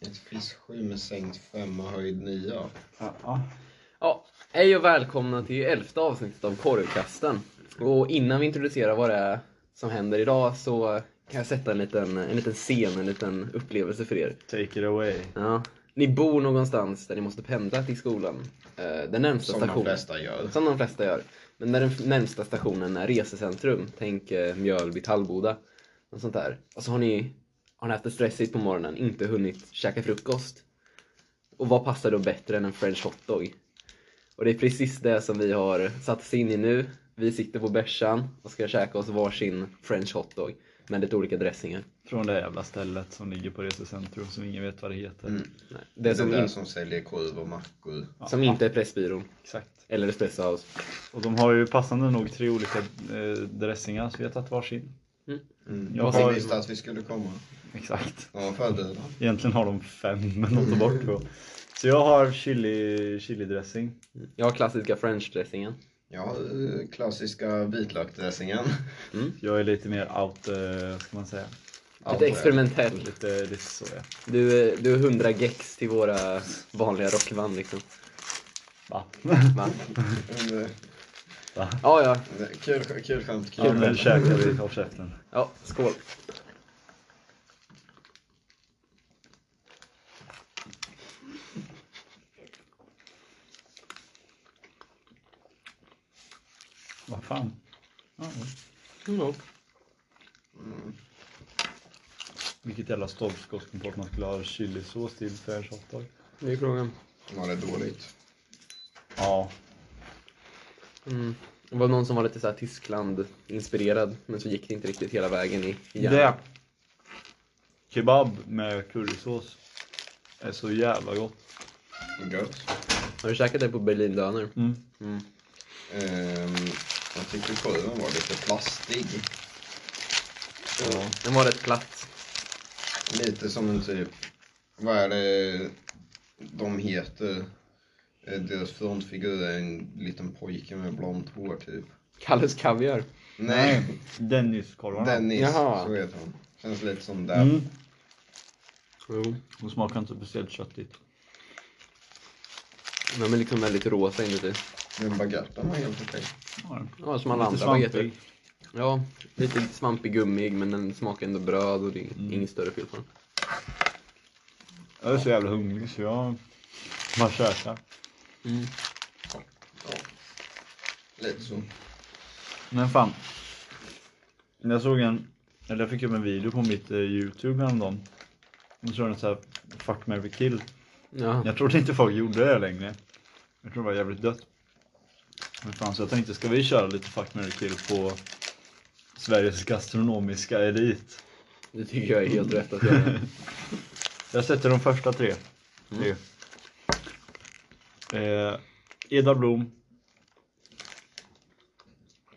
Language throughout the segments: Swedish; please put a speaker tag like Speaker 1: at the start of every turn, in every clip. Speaker 1: Ett fiskskjul med sänkt femma och höjd nia.
Speaker 2: Ja.
Speaker 3: Ja, hej och välkomna till elfte avsnittet av Korvkasten. Och innan vi introducerar vad det är som händer idag så kan jag sätta en liten, en liten scen, en liten upplevelse för er.
Speaker 2: Take it away.
Speaker 3: Ja. Ni bor någonstans där ni måste pendla till skolan. Eh, Den närmsta
Speaker 1: Som de
Speaker 3: stationen.
Speaker 1: flesta gör.
Speaker 3: Som de flesta gör. Men när den f- närmsta stationen är resecentrum, tänk eh, Mjölby, Tallboda, något sånt där. Och så har ni, har ni haft det stressigt på morgonen, inte hunnit käka frukost. Och vad passar då bättre än en french hotdog? Och det är precis det som vi har satt oss in i nu. Vi sitter på bärsan och ska käka oss varsin french hotdog med lite olika dressingar.
Speaker 2: Från det jävla stället som ligger på resecentrum som ingen vet vad det heter.
Speaker 3: Nej,
Speaker 1: Det
Speaker 3: Det
Speaker 1: är
Speaker 3: som,
Speaker 1: där
Speaker 3: in, Mm.
Speaker 1: som säljer korv och mackor.
Speaker 3: som inte är Pressbyrån
Speaker 2: Exakt.
Speaker 3: eller Espresso House.
Speaker 2: Och de har ju passande nog tre olika eh, dressingar så vi har tagit varsin.
Speaker 1: Mm.
Speaker 2: Jag
Speaker 1: Jag
Speaker 2: har-
Speaker 1: visste att vi skulle komma.
Speaker 2: Exakt.
Speaker 1: Ja, förberedda.
Speaker 2: Egentligen har de fem men de tar bort två. Så jag har chili, chili dressing.
Speaker 3: Jag har klassiska french dressingen.
Speaker 1: Jag har eh, klassiska vitlöksdressingen.
Speaker 2: Jag är lite mer out, eh, vad ska man säga?
Speaker 3: Lite experimentell.
Speaker 2: Lite, lite så ja.
Speaker 3: Du, du är 100 gex till våra vanliga rockband liksom.
Speaker 2: Va?
Speaker 3: Va?
Speaker 1: Mm, eh,
Speaker 2: Va?
Speaker 3: Ja, ja.
Speaker 1: Kul, kul skämt. Kul
Speaker 2: Ja, nu
Speaker 1: skämt.
Speaker 2: käkar vi, håll käften.
Speaker 3: ja skål.
Speaker 2: Vad fan? Ja,
Speaker 3: Mm,
Speaker 2: vilket jävla stolpskottskomport man skulle ha chilisås till french hotdog.
Speaker 3: Det är frågan.
Speaker 1: Var det dåligt?
Speaker 2: Ja,
Speaker 3: Mm. Det var någon som var lite så här Tyskland-inspirerad, men så gick det inte riktigt hela vägen i i hjärnan.
Speaker 2: Det. Kebab med currysås. Är så jävla gott.
Speaker 1: Gött.
Speaker 3: Har du käkat det på Berlindöner?
Speaker 2: Mm.
Speaker 1: Ehm, jag tyckte korven var lite plastig.
Speaker 2: Ja.
Speaker 3: Den var rätt platt.
Speaker 1: Lite som en typ, vad är det de heter? Eh, Deras frontfigur är en liten pojke med blont hår typ.
Speaker 3: Kalles Kaviar.
Speaker 1: Nej,
Speaker 2: Denniskorvarna.
Speaker 1: Dennis,
Speaker 3: Jaha.
Speaker 1: så heter han. Känns lite som det.
Speaker 2: Mm.
Speaker 3: Jo.
Speaker 2: De smakar inte speciellt köttigt.
Speaker 3: Den är liksom väldigt rosa inuti.
Speaker 1: Men baguetten var helt okej.
Speaker 2: Ja,
Speaker 3: Ja, som alla
Speaker 2: lite
Speaker 3: andra baguetter.
Speaker 2: svampig.
Speaker 3: Ja, lite svampig gummig, men den smakar ändå bröd och det är
Speaker 2: Mm.
Speaker 3: inget större fel på den.
Speaker 2: Jag är så jävla hungrig så jag bara käkar.
Speaker 3: Mm.
Speaker 1: Ja. Lite så.
Speaker 2: Men fan. Jag såg en, eller jag fick upp en video på mitt eh, youtube häromdagen. Och så var det så här, fuck, marry, kill.
Speaker 3: Ja.
Speaker 2: Jag trodde inte folk gjorde det längre. Jag tror det var jävligt dött. Men fan, så jag tänkte, ska vi köra lite Fuck, marry, kill på Sveriges gastronomiska elit?
Speaker 3: Det tycker jag är helt rätt att göra.
Speaker 2: Jag sätter de första tre. tre. Eh, Eda Blom.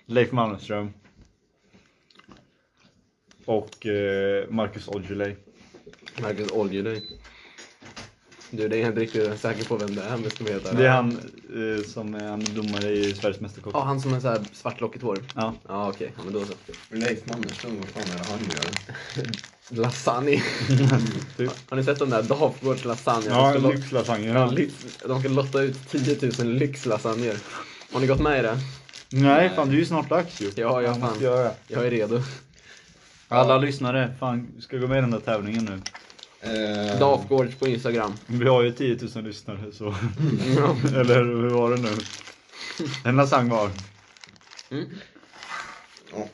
Speaker 2: Leif Malmström. Och eh, Marcus Aujalay.
Speaker 3: Marcus Aujalay. Du, det är jag inte riktigt säker på vem det är, men ska vi veta
Speaker 2: Det är han eh, som är han är domare i Sveriges Mästerkock.
Speaker 3: Ja, han som är så här svartlockigt hår.
Speaker 2: Ja.
Speaker 3: Ja, okej. Ja, men då så.
Speaker 1: Leif Mannerström, vad fan är det han gör?
Speaker 3: Lasagne.
Speaker 2: Typ.
Speaker 3: Har ni sett de där Dafgårds lasagne?
Speaker 2: Ja,
Speaker 3: de, ska lo-
Speaker 2: lyxlasagnerna.
Speaker 3: lyx- de ska lotta ut 10 000 lyxlasagner. Har ni gått med i det?
Speaker 2: Nej, fan det är ju snart dags ju.
Speaker 3: Ja, ja,
Speaker 2: Man måste
Speaker 3: fan.
Speaker 2: göra det.
Speaker 3: Jag är redo.
Speaker 2: Alla lyssnare, fan vi ska gå med i den där tävlingen nu.
Speaker 1: Eh,
Speaker 3: Dafgårds på Instagram.
Speaker 2: Vi har ju 10 000 lyssnare så.
Speaker 3: Ja.
Speaker 2: Eller hur var det nu? En lasagne var.
Speaker 1: ja.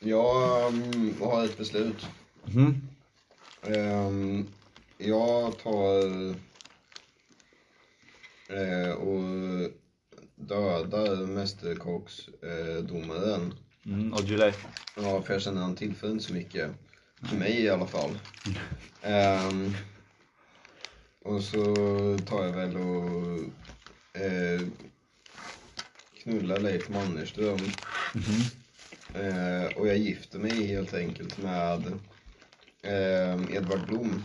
Speaker 1: Jag mm, har ett beslut.
Speaker 2: Mhm.
Speaker 1: Ehm, jag tar eh, och dödar mästerkocksdomaren.
Speaker 2: Mm, och Gillette.
Speaker 1: ja, för jag känner han tillför inte så mycket. För mig i alla fall. Ehm, och så tar jag väl och eh, knullar Leif Mannerström.
Speaker 2: Mm-hmm.
Speaker 1: Eh, och jag gifter mig helt enkelt med eh, Edvard Blom.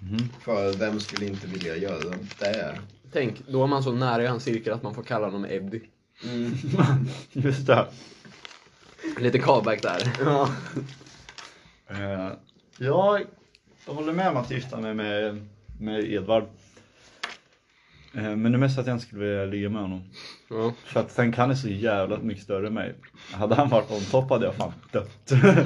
Speaker 2: Mhm.
Speaker 1: För vem skulle inte vilja göra det?
Speaker 3: Tänk, då är man så nära i hans cirkel att man får kalla honom Eddie.
Speaker 1: Mm.
Speaker 2: Just det.
Speaker 3: Lite callback där.
Speaker 1: Ja.
Speaker 2: Eh, jag håller med om att gifta mig med med Edvard. Eh, Men det mesta att jag inte skulle vilja ligga med honom.
Speaker 3: Ja.
Speaker 2: För att tänk han är så jävla mycket större än mig. Hade han varit on top hade jag fan dött.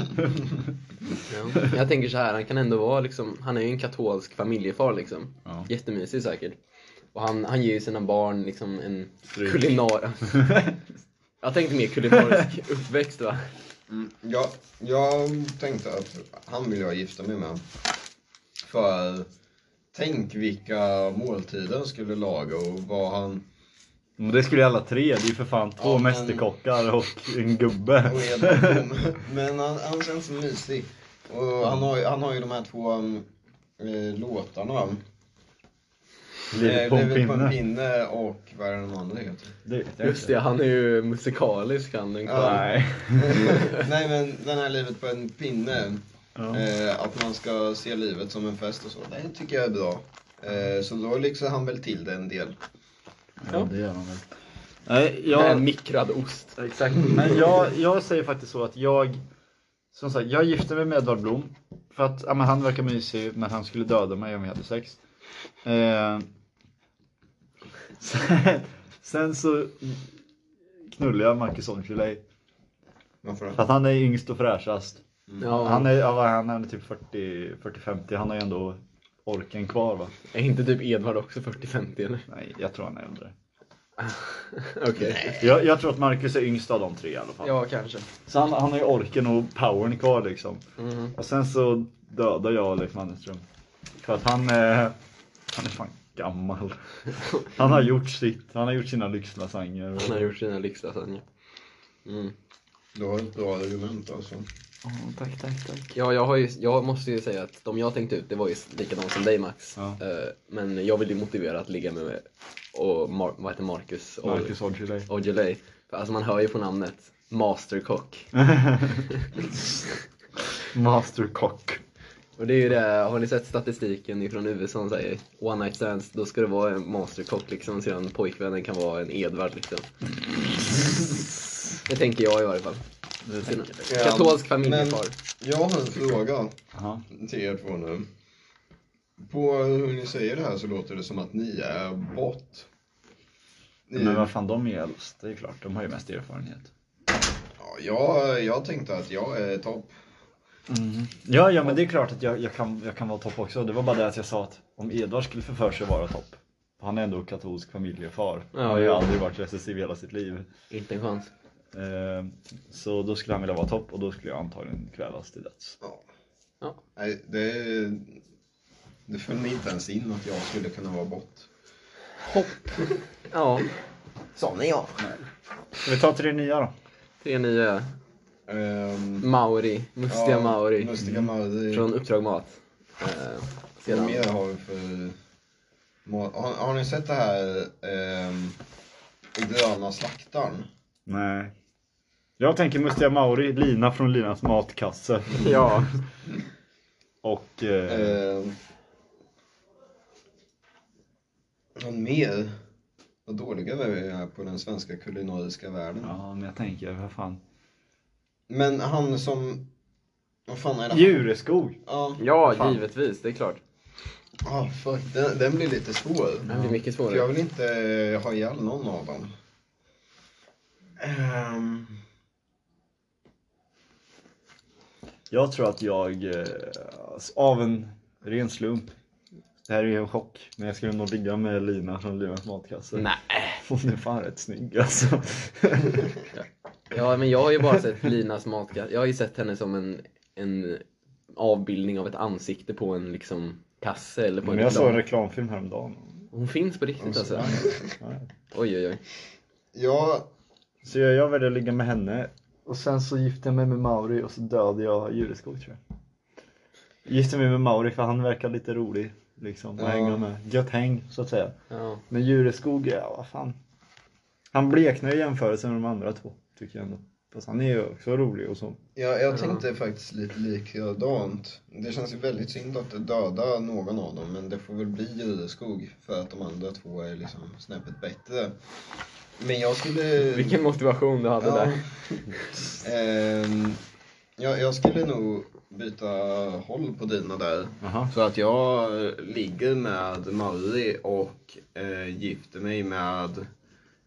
Speaker 3: Ja. Jag tänker så här, han kan ändå vara liksom, han är ju en katolsk familjefar liksom.
Speaker 2: Ja.
Speaker 3: Jättemysig säkert. Och han, han ger ju sina barn liksom en
Speaker 2: Stryk.
Speaker 3: kulinar... Jag tänkte mer kulinarisk uppväxt va?
Speaker 1: Mm, jag, jag tänkte att han vill jag gifta mig med. För tänk vilka måltider han skulle laga och vad han...
Speaker 2: Men det skulle ju alla tre, det är ju för fan två
Speaker 1: Ja, men-
Speaker 2: mästerkockar och en gubbe.
Speaker 1: och är där tom. Men han, han känns så mysig. Och han har, ju- han har ju de här två um, eh, låtarna. Eh,
Speaker 2: Livet på en
Speaker 1: Livet
Speaker 2: pinne.
Speaker 1: och vad är det den andra heter?
Speaker 2: Det vet jag
Speaker 3: Just
Speaker 2: inte.
Speaker 3: det, han är ju musikalisk han den
Speaker 1: Ja.
Speaker 3: karln.
Speaker 2: Nej.
Speaker 1: Nej men den här Livet på en pinne.
Speaker 2: Ja.
Speaker 1: Eh, att man ska se livet som en fest och så. Det tycker jag är bra. Eh, så då lyxar han väl till det en del.
Speaker 2: Ja, det gör han väl. Nej,
Speaker 3: Med
Speaker 2: jag,
Speaker 3: mikrad ost. Mm.
Speaker 2: Exakt. Men jag, jag säger faktiskt så att jag, som sagt, jag gifte mig med Edvard Blom. För att ja, men han verkar mysig, men han skulle döda mig om vi hade sex. Eh, sen, sen så knullar jag Marcus Aujalay.
Speaker 1: Varför
Speaker 2: För att han är yngst och fräschast.
Speaker 3: Ja,
Speaker 2: Han är, ja, vad är han han är typ 40-50, han har ju ändå orken kvar va?
Speaker 3: Är inte typ Edvard också 40-50 eller?
Speaker 2: Nej, jag tror han är äldre.
Speaker 3: Okej.
Speaker 2: Jag, jag tror att Marcus är yngst av de tre i alla fall.
Speaker 3: Ja, kanske.
Speaker 2: Så han, han har ju orken och powern kvar liksom.
Speaker 3: Mhm.
Speaker 2: Och sen så dödar jag Leif Mannerström. För att han är, han är fan gammal. Han har gjort sitt, han har gjort sina lyxlasagner.
Speaker 3: Han har
Speaker 2: Och...
Speaker 3: gjort sina lyxlasagne. Mm.
Speaker 1: Du har ett bra argument alltså.
Speaker 2: tack, tack, tack.
Speaker 3: Ja, jag, har ju, jag måste ju säga att de jag tänkte ut, det var ju likadant som dig Max.
Speaker 2: Ja.
Speaker 3: Eh, Men jag vill ju motivera att ligga med och Mar- vad heter Marcus och-
Speaker 2: Marcus Aujalay.
Speaker 3: Aujalay. För alltså man hör ju på namnet, masterkock.
Speaker 2: Masterkock.
Speaker 3: Och det är ju det, har ni sett statistiken ifrån USA som säger one night stands, då ska det vara en masterkock liksom, sedan pojkvännen kan vara en Edvard liksom. Det tänker jag i varje fall.
Speaker 2: Det
Speaker 3: Sina-
Speaker 2: tänker jag.
Speaker 1: Ja,
Speaker 3: Katolsk familjefar.
Speaker 1: Jag har en fråga
Speaker 2: Jaha.
Speaker 1: till er två nu. På hur ni säger det här så låter det som att ni är bort.
Speaker 3: Mm.
Speaker 1: Ni,
Speaker 2: Men vad fan, de är äldst, det är klart. De har ju mest erfarenhet.
Speaker 1: ja, jag, jag tänkte att jag är topp.
Speaker 2: Ja, ja, men det är klart att jag, jag, kan, jag kan vara topp också. Det var bara det att jag sa att om Edvard skulle få för sig att vara topp. Han är ändå katolsk familjefar. Han har ju
Speaker 3: Ja.
Speaker 2: aldrig varit recessiv i hela sitt liv.
Speaker 3: Inte en chans.
Speaker 2: Eh, Så då skulle han vilja vara topp och då skulle jag antagligen kvävas till döds.
Speaker 1: Ja.
Speaker 3: Ja.
Speaker 1: Nej, det, det föll mig inte ens in att jag skulle kunna vara bort.
Speaker 3: Ja,
Speaker 1: Sån är jag.
Speaker 2: Ska vi ta tre nya då?
Speaker 3: tre nya
Speaker 1: Um,
Speaker 3: Mauri, mustiga Mauri.
Speaker 1: Mustiga
Speaker 2: Mm.
Speaker 1: Mauri.
Speaker 3: Från Uppdrag Mat. Eh,
Speaker 1: Vad
Speaker 3: sedan.
Speaker 1: mer har vi för... må- Har, har ni sett det här ehm, Gröna slaktaren?
Speaker 2: Nej. Jag tänker Mustiga Mauri, Lina från Linas matkasse
Speaker 3: Ja.
Speaker 2: och... Eh,
Speaker 1: Ehm, Någon mer? Vad dåliga vi är på den svenska kulinariska världen.
Speaker 2: ja, men jag tänker, vad fan.
Speaker 1: Men han som... Vad fan är det?
Speaker 2: Djureskog!
Speaker 1: Ja,
Speaker 3: Ja,
Speaker 2: Fan.
Speaker 3: givetvis. Det är klart.
Speaker 1: ah, fuck. Den, den blir lite svår.
Speaker 3: Det blir mycket
Speaker 1: För jag
Speaker 3: svårare.
Speaker 1: vill inte ha ihjäl någon av dem. Ehm,
Speaker 2: Jag tror att jag, eh, av en ren slump, det här är ju en chock, men jag skulle nog ligga med Lina från Linas matkasse.
Speaker 3: Nej.
Speaker 2: Hon är fan rätt snygg alltså.
Speaker 3: Ja, men jag har ju bara sett Linas matkasse. Jag har ju sett henne som en, en avbildning av ett ansikte på en liksom kasse eller på
Speaker 2: Men
Speaker 3: en
Speaker 2: jag såg en
Speaker 3: reklam.
Speaker 2: reklamfilm häromdagen.
Speaker 3: Hon finns på riktigt alltså. Oj, oj, oj.
Speaker 1: jag
Speaker 2: Så jag, jag väljer att ligga med henne och sen så gifte jag mig med Mauri och så dödade jag Jureskog tror jag. Gifte mig med Mauri för han verkar lite rolig liksom att
Speaker 1: Ja.
Speaker 2: hänga med. Gött häng så att säga.
Speaker 3: Ja.
Speaker 2: Men Jureskog, ja vad fan. Han bleknar i jämförelse med de andra två tycker jag ändå. Fast han är ju också rolig och så.
Speaker 1: Ja, jag tänkte faktiskt lite likadant. Det känns ju väldigt synd att döda någon av dem, men det får väl bli Jureskog för att de andra två är liksom snäppet bättre. Men jag skulle...
Speaker 3: Vilken motivation du hade
Speaker 1: ja,
Speaker 3: där.
Speaker 1: ehm, jag, jag skulle nog byta håll på dina där.
Speaker 2: Jaha.
Speaker 1: Så att jag ligger med Mauri och eh, gifter mig med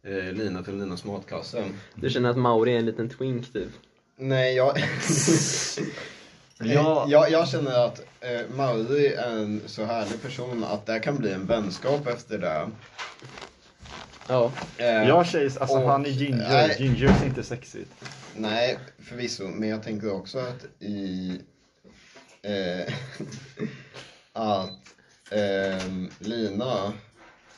Speaker 1: eh, Lina från Linas matkasse.
Speaker 3: Du känner att Mauri är en liten twink typ?
Speaker 1: Nej, jag...
Speaker 2: Ja.
Speaker 1: Eh, Jag, jag känner att eh, Mauri är en så härlig person att det kan bli en vänskap efter det.
Speaker 3: Ja.
Speaker 1: Eh,
Speaker 2: Jag tjejs, alltså
Speaker 1: Och-
Speaker 2: han är ginger.
Speaker 1: Nej.
Speaker 2: Gingers är inte sexigt.
Speaker 1: Nej, förvisso. Men jag tänker också att i... Eh, att ehm, Lina,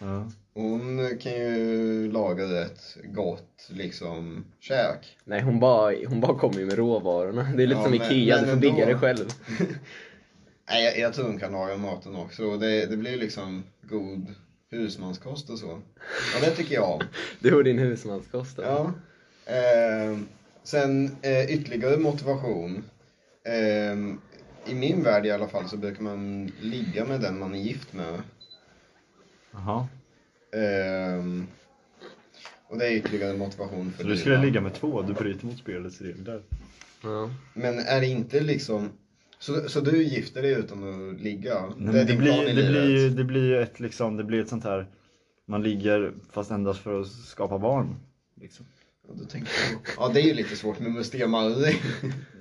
Speaker 2: Ja.
Speaker 1: hon kan ju laga rätt gott liksom käk.
Speaker 3: Nej, hon bara, hon bara kommer ju med råvarorna. Det är lite
Speaker 1: Ja,
Speaker 3: som
Speaker 1: men-
Speaker 3: Ikea,
Speaker 1: men
Speaker 3: du får bygga
Speaker 1: ändå.
Speaker 3: det själv.
Speaker 1: Nej, jag, jag tror hon kan laga maten också. Och det, det blir liksom god husmanskost och så. Ja, det tycker jag om.
Speaker 3: Du och din husmanskost. då.
Speaker 1: Ja. Ehm, sen eh, ytterligare motivation. Ehm, I min värld i alla fall så brukar man ligga med den man är gift med.
Speaker 2: Jaha.
Speaker 1: Ehm, och det är ytterligare motivation för
Speaker 2: Så du
Speaker 1: Lina.
Speaker 2: skulle ligga med två, du bryter mot spelets regler.
Speaker 3: Ja.
Speaker 1: Men är det inte liksom... Så, så du gifter dig utan att ligga?
Speaker 2: Nej,
Speaker 1: det är
Speaker 2: men
Speaker 1: din
Speaker 2: det,
Speaker 1: plan
Speaker 2: blir,
Speaker 1: i
Speaker 2: det,
Speaker 1: livet?
Speaker 2: blir ju, det blir ju ett liksom, det blir ett sånt här, man ligger fast endast för att skapa barn. Liksom.
Speaker 1: Ja, då tänker jag. ja, det är ju lite svårt med Mustea Mauri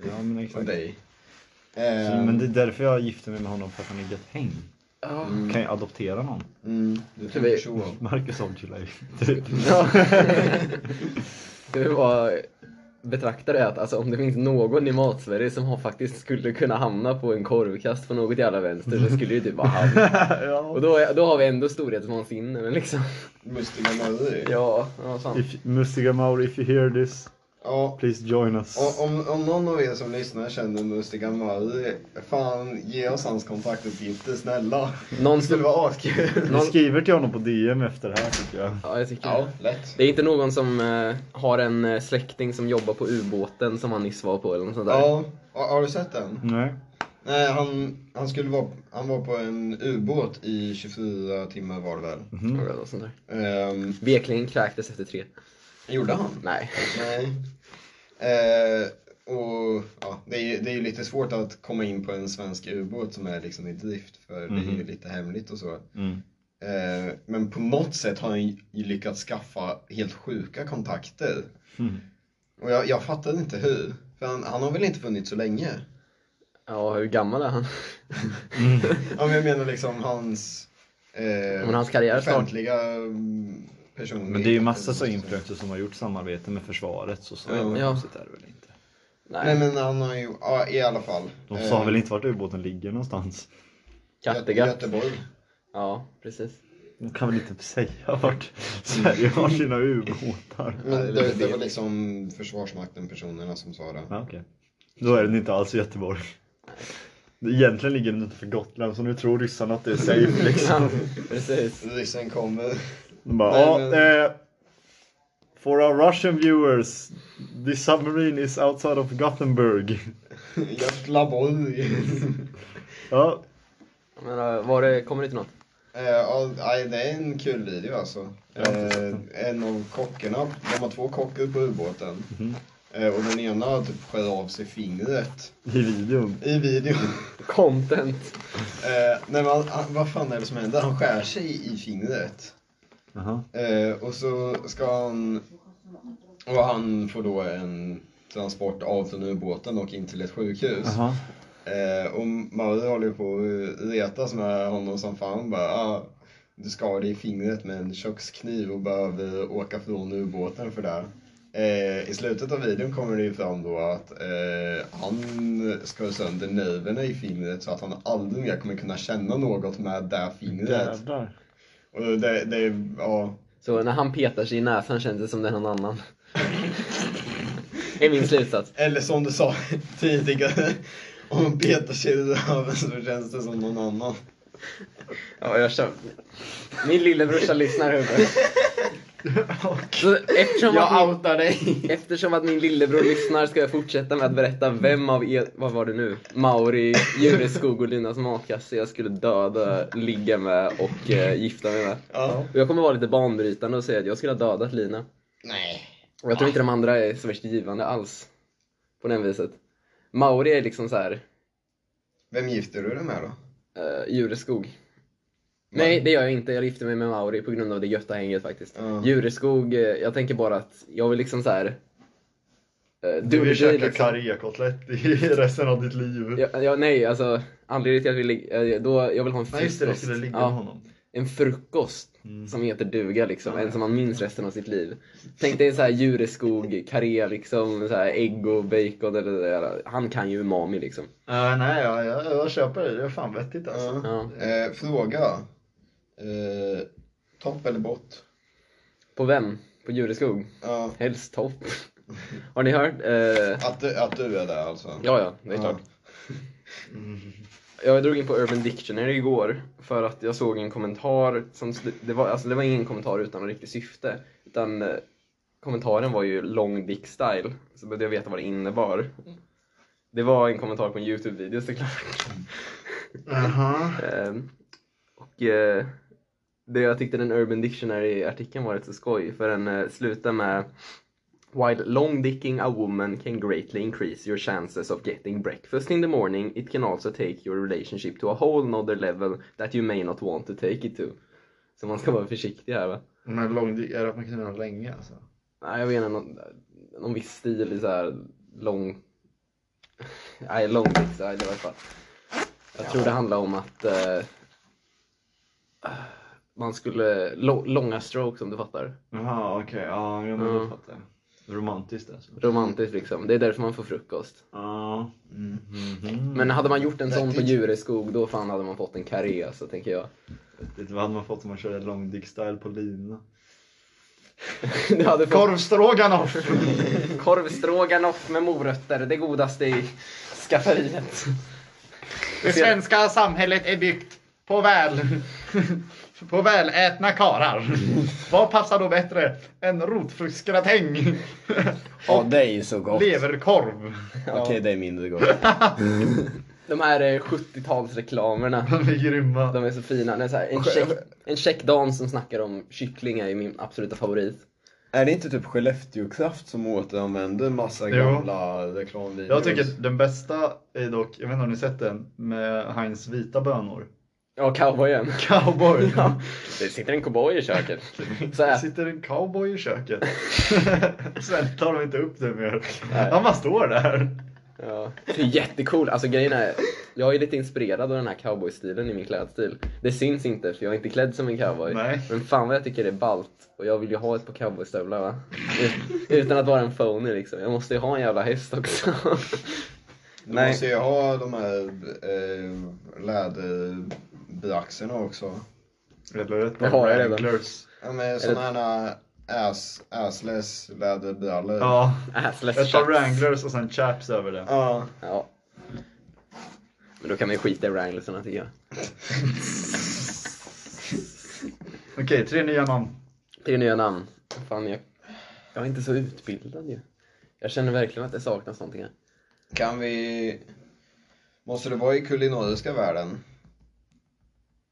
Speaker 2: Ja men
Speaker 1: och
Speaker 2: exakt.
Speaker 1: dig.
Speaker 2: Så,
Speaker 1: Ehm,
Speaker 2: men det är därför jag gifte mig med honom, för att han är ett häng. Kan jag adoptera någon?
Speaker 1: mm, du
Speaker 3: Ska vi-
Speaker 1: tänker så.
Speaker 2: Marcus Aujalay. Typ.
Speaker 3: Ska vi bara betrakta det att alltså, om det finns någon i Matsverige som har faktiskt skulle kunna hamna på en korvkast på något jävla vänster så skulle det typ vara han. Och
Speaker 2: ja.
Speaker 3: då, är, då har vi ändå storhetsvansinne liksom.
Speaker 1: Mustea Mauri.
Speaker 3: Ja, ja fan.
Speaker 2: If, Musiga Mauri, if you hear this,
Speaker 1: Ja,
Speaker 2: please join us.
Speaker 1: Och om, om någon av er som lyssnar känner Mustiga Mauri, fan ge oss hans kontaktuppgifter snälla.
Speaker 3: Någon
Speaker 1: Det skulle
Speaker 3: skulle...
Speaker 1: vara askul.
Speaker 2: Vi
Speaker 3: någon-
Speaker 2: skriver till honom på DM efter det här tycker jag.
Speaker 3: Ja, jag tycker
Speaker 1: Ja,
Speaker 3: det.
Speaker 1: lätt.
Speaker 3: Det är inte någon som eh, har en eh, släkting som jobbar på ubåten som han nyss var på eller något sånt där.
Speaker 1: Ja, har, har du sett den?
Speaker 2: Nej.
Speaker 1: Nej, han, han, skulle vara, han var på en ubåt i 24 timmar var det väl.
Speaker 2: Mhm.
Speaker 3: Något sånt där.
Speaker 1: Ehm,
Speaker 3: Veklingen kräktes efter tre.
Speaker 1: gjorde han?
Speaker 3: Nej.
Speaker 1: Nej. Eh, och ja, det är ju det är ju lite svårt att komma in på en svensk ubåt som är liksom i drift för det är ju
Speaker 2: Mhm.
Speaker 1: lite hemligt och så.
Speaker 2: Mm.
Speaker 1: Eh, Men på något sätt har han ju lyckats skaffa helt sjuka kontakter.
Speaker 2: Mm.
Speaker 1: Och jag, jag fattar inte hur. För han, han har väl inte funnits så länge?
Speaker 3: Ja, hur gammal är han?
Speaker 1: Ja, men jag menar liksom hans eh,
Speaker 3: Men hans karriär snart.
Speaker 1: offentliga mm, personlighet.
Speaker 2: Men det är ju massa så influencers som har gjort samarbete med försvaret så så
Speaker 1: Ja.
Speaker 2: jävla
Speaker 3: Ja.
Speaker 2: konstigt är det väl inte.
Speaker 1: Nej men han har ju, ja, i alla fall.
Speaker 2: De sa
Speaker 1: Eh,
Speaker 2: väl inte vart ubåten ligger någonstans?
Speaker 3: Kattegatt.
Speaker 1: Gö- Göteborg.
Speaker 3: Ja, precis.
Speaker 2: De kan väl inte säga vart Sverige har sina ubåtar?
Speaker 1: Men
Speaker 3: det är
Speaker 1: det,
Speaker 3: lite
Speaker 1: det var
Speaker 3: del.
Speaker 1: liksom Försvarsmakten personerna som sa det.
Speaker 2: Ja, okej. Då är den inte alls i Göteborg. Egentligen ligger den inte för Gotland så nu tror ryssarna att det är safe liksom.
Speaker 3: Ja, precis.
Speaker 1: Ryssen kommer.
Speaker 2: De bara,
Speaker 1: Nej,
Speaker 2: "Ja,
Speaker 1: men-
Speaker 2: eh, For our Russian viewers, the submarine is outside of Gothenburg.
Speaker 1: Göteborg.
Speaker 2: Ja,
Speaker 3: Men eh, var det, kommer det inte något?
Speaker 1: Eh, ja, nej, det är en kul video alltså.
Speaker 2: Jag har inte
Speaker 1: Eh, en av kockarna, de har två kockar på ubåten.
Speaker 2: Mhm.
Speaker 1: Eh, och den ena typ skär av sig fingret
Speaker 2: i videon.
Speaker 1: i videon.
Speaker 3: Content.
Speaker 1: eh, nej, men han, han, vad fan är det som händer? Han skär sig i fingret.
Speaker 2: Jaha.
Speaker 1: Eh, och så ska han... Och han får då en transport av den ubåten och in till ett sjukhus.
Speaker 2: Jaha.
Speaker 1: Eh, och Mauri håller ju på att retas med honom som fan bara ah, Du skar dig i fingret med en kökskniv och behöver åka från ubåten för det. Eh, I slutet av videon kommer det ju fram då att eh, han skar sönder nerverna i fingret så att han aldrig mer kommer kunna känna något med det fingret.
Speaker 2: Jävlar.
Speaker 1: Och det, det är, ja.
Speaker 3: Så när han petar sig i näsan känns det som det är någon annan. är min slutsats.
Speaker 1: Eller som du sa tidigare, om man petar sig i röven så känns det som någon annan.
Speaker 3: Ja, jag kör. Min lillebrorsa lyssnar över. Så eftersom, att
Speaker 1: Jag
Speaker 3: min,
Speaker 1: outar dig!
Speaker 3: eftersom att min lillebror lyssnar ska jag fortsätta med att berätta vem av er, vad var det nu? Mauri, Jureskog och Linas matkasse jag skulle döda, ligga med och eh, gifta mig med.
Speaker 1: Ja.
Speaker 3: Och jag kommer vara lite banbrytande och säga att jag skulle ha dödat Lina.
Speaker 1: Nej.
Speaker 3: Och jag tror inte de andra är så värst givande alls. På det viset. Mauri är liksom så här
Speaker 1: Vem gifter du dig med då?
Speaker 3: Uh, Jureskog. Nej, det gör jag inte. Jag gifte mig med Mauri på grund av det götta hänget faktiskt.
Speaker 1: Ja.
Speaker 3: Jureskog, eh, jag tänker bara att jag vill liksom så här. eh,
Speaker 2: Du vill
Speaker 3: dubbelbli
Speaker 2: käka
Speaker 3: liksom.
Speaker 2: karrékotlett i resten av ditt liv.
Speaker 3: Ja, ja, nej, alltså anledningen till att vi ligger, eh, då, jag vill ha en
Speaker 2: Nej
Speaker 3: frukost.
Speaker 2: just det, det skulle ligga med
Speaker 3: ja,
Speaker 2: honom.
Speaker 3: en frukost
Speaker 2: Mm.
Speaker 3: som heter duga liksom,
Speaker 2: Ja, ja.
Speaker 3: en som man minns resten av sitt liv. Tänk dig en så här jureskog, karré liksom, så här ägg och bacon eller det där. Han kan ju umami liksom.
Speaker 2: Äh, nej, jag, jag, jag köper det. Det är fan vettigt alltså.
Speaker 3: Ja.
Speaker 1: Eh, fråga. Eh, topp eller bott?
Speaker 3: På vem? På jureskog?
Speaker 1: Ja,
Speaker 3: Helst topp. Har ni hört? Eh,
Speaker 1: att, du, att du är där alltså?
Speaker 3: ja, ja, det är klart.
Speaker 2: Mm.
Speaker 3: Jag drog in på Urban Dictionary igår för att jag såg en kommentar som, det var, alltså det var ingen kommentar utan något riktigt syfte. Utan eh, kommentaren var ju long dick style, så behövde jag veta vad det innebar. Det var en kommentar på en Youtube-video såklart.
Speaker 2: Jaha.
Speaker 3: Eh, och eh, det jag tyckte den Urban Dictionary-artikeln var rätt så skoj för den eh, slutar med While long dicking a woman can greatly increase your chances of getting breakfast in the morning it can also take your relationship to a whole nother level that you may not want to take it to. Så man ska vara försiktig här va?
Speaker 2: Men lång, är det att man kan göra länge alltså?
Speaker 3: Nej jag vet inte, någon, någon viss stil i såhär lång... Nej, lång dick style i alla fall. Jag tror det handlar om att eh, man skulle... Lo, långa strokes om du fattar.
Speaker 2: Jaha, okej. Ja, jag
Speaker 3: Ja.
Speaker 2: fattar jag. Romantiskt alltså.
Speaker 3: Romantiskt liksom. Det är därför man får frukost.
Speaker 2: Ja. Mhm.
Speaker 3: Men hade man gjort en sån på
Speaker 1: Vettigt.
Speaker 3: Djureskog då fan hade man fått en karré alltså, tänker jag.
Speaker 2: Vet du vad hade man fått om man körde long dick style på lina?
Speaker 3: Du hade fått
Speaker 2: Korvstroganoff!
Speaker 3: korv stroganoff med morötter, det godaste i skafferiet.
Speaker 4: Det svenska samhället är byggt på väl på välätna karar. Vad passar då bättre än rotfruktsgratäng
Speaker 5: Ja, det är ju så gott.
Speaker 4: leverkorv?
Speaker 5: Okej, det är mindre gott.
Speaker 3: De här eh, 70-talsreklamerna.
Speaker 2: De är grymma.
Speaker 3: De är så fina. Det är så här, en, tjeck, en tjeck dam som snackar om kyckling är min absoluta favorit.
Speaker 1: Är det inte typ Skellefteå Kraft som återanvänder massa
Speaker 2: Jo.
Speaker 1: gamla reklamvideos?
Speaker 2: Jag tycker att den bästa är dock, jag vet inte om ni sett den, med Heinz vita bönor.
Speaker 3: Ja, cowboyen.
Speaker 2: Cowboy!
Speaker 3: Ja, det sitter en cowboy i köket. Så
Speaker 2: Det
Speaker 3: här.
Speaker 2: sitter en cowboy i köket. Sen tar de inte upp det mer. Han bara står där.
Speaker 3: Ja. Det är jättecool. Alltså grejen är, jag är lite inspirerad av den här cowboystilen i min klädstil. Det syns inte för jag är inte klädd som en cowboy.
Speaker 2: Nej.
Speaker 3: Men fan vad jag tycker det är ballt. Och jag vill ju ha ett par cowboystövlar va. Ut- Utan att vara en phony liksom. Jag måste ju ha en jävla häst också. Äh,
Speaker 1: Du måste ju ha de här eh, läderbraxerna också.
Speaker 2: Eller rätt
Speaker 3: Det har jag redan.
Speaker 2: Wranglers.
Speaker 1: Ja men sådana här ass, assless läderbrallor.
Speaker 2: Ja,
Speaker 3: Assless
Speaker 2: ett par
Speaker 3: chaps.
Speaker 2: wranglers och sen chaps över det.
Speaker 1: Ja.
Speaker 3: Ja. Men då kan man ju skita i wranglersarna tycker jag.
Speaker 2: Okej, tre nya namn.
Speaker 3: Tre nya namn. Fan, jag, jag är inte så utbildad ju. Jag känner verkligen att det saknas någonting här.
Speaker 1: Kan vi... Måste det vara i kulinariska världen?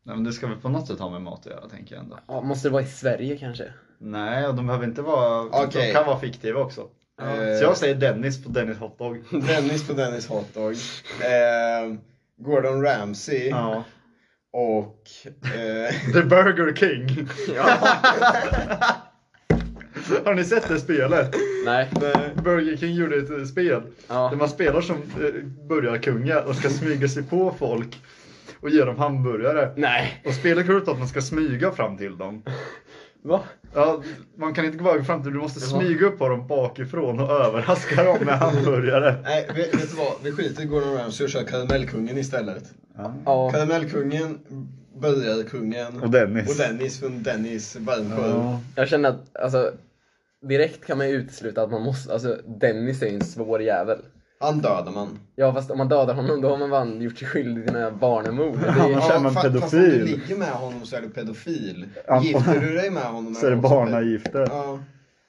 Speaker 2: Nej, men det ska väl på något sätt ha med mat att göra tänker jag ändå.
Speaker 3: Ja, måste det vara i Sverige kanske?
Speaker 2: Nej, och de behöver inte vara... De
Speaker 1: Okej.
Speaker 2: kan vara fiktiva också.
Speaker 1: Eh,
Speaker 2: Så jag säger Dennis på Dennis Hotdog.
Speaker 1: Dennis på Dennis Hotdog. Eh, Gordon Ramsay
Speaker 2: Ja.
Speaker 1: och... Eh,
Speaker 2: The Burger King.
Speaker 3: Ja.
Speaker 2: Har ni sett det spelet?
Speaker 3: Nej.
Speaker 2: Nej, Burger King gjorde ett eh, spel
Speaker 3: Ja.
Speaker 2: där man spelar som eh, burgarkungar och ska smyga sig på folk och ge dem hamburgare.
Speaker 3: Nej.
Speaker 2: Och spelet går ut på att man ska smyga fram till dem.
Speaker 3: Va?
Speaker 2: Ja, man kan inte gå bara fram till du måste
Speaker 3: var-
Speaker 2: smyga upp på dem bakifrån och överraska dem med hamburgare.
Speaker 1: nej, vet, vet du vad? Vi skiter i Gordon Ramsay och kör Karamellkungen istället.
Speaker 3: Ja.
Speaker 1: Karamellkungen, Burgarkungen
Speaker 2: Och Dennis.
Speaker 1: och Dennis från Dennis Värmsjö.
Speaker 3: Jag känner att, alltså, direkt kan man ju utesluta att man måste, alltså Dennis är ju en svår jävel.
Speaker 1: Han dödar man.
Speaker 3: Ja, fast om man dödar honom då har man fan gjort sig skyldig till den här barnemord. Det är ju...
Speaker 2: Ja. så är man
Speaker 1: fa- Fast om du
Speaker 2: pedofil.
Speaker 1: ligger med honom så är du pedofil.
Speaker 2: Ja.
Speaker 1: Gifter du dig med honom
Speaker 2: Så är det
Speaker 1: också ped-
Speaker 2: barnagifter.
Speaker 1: Ja.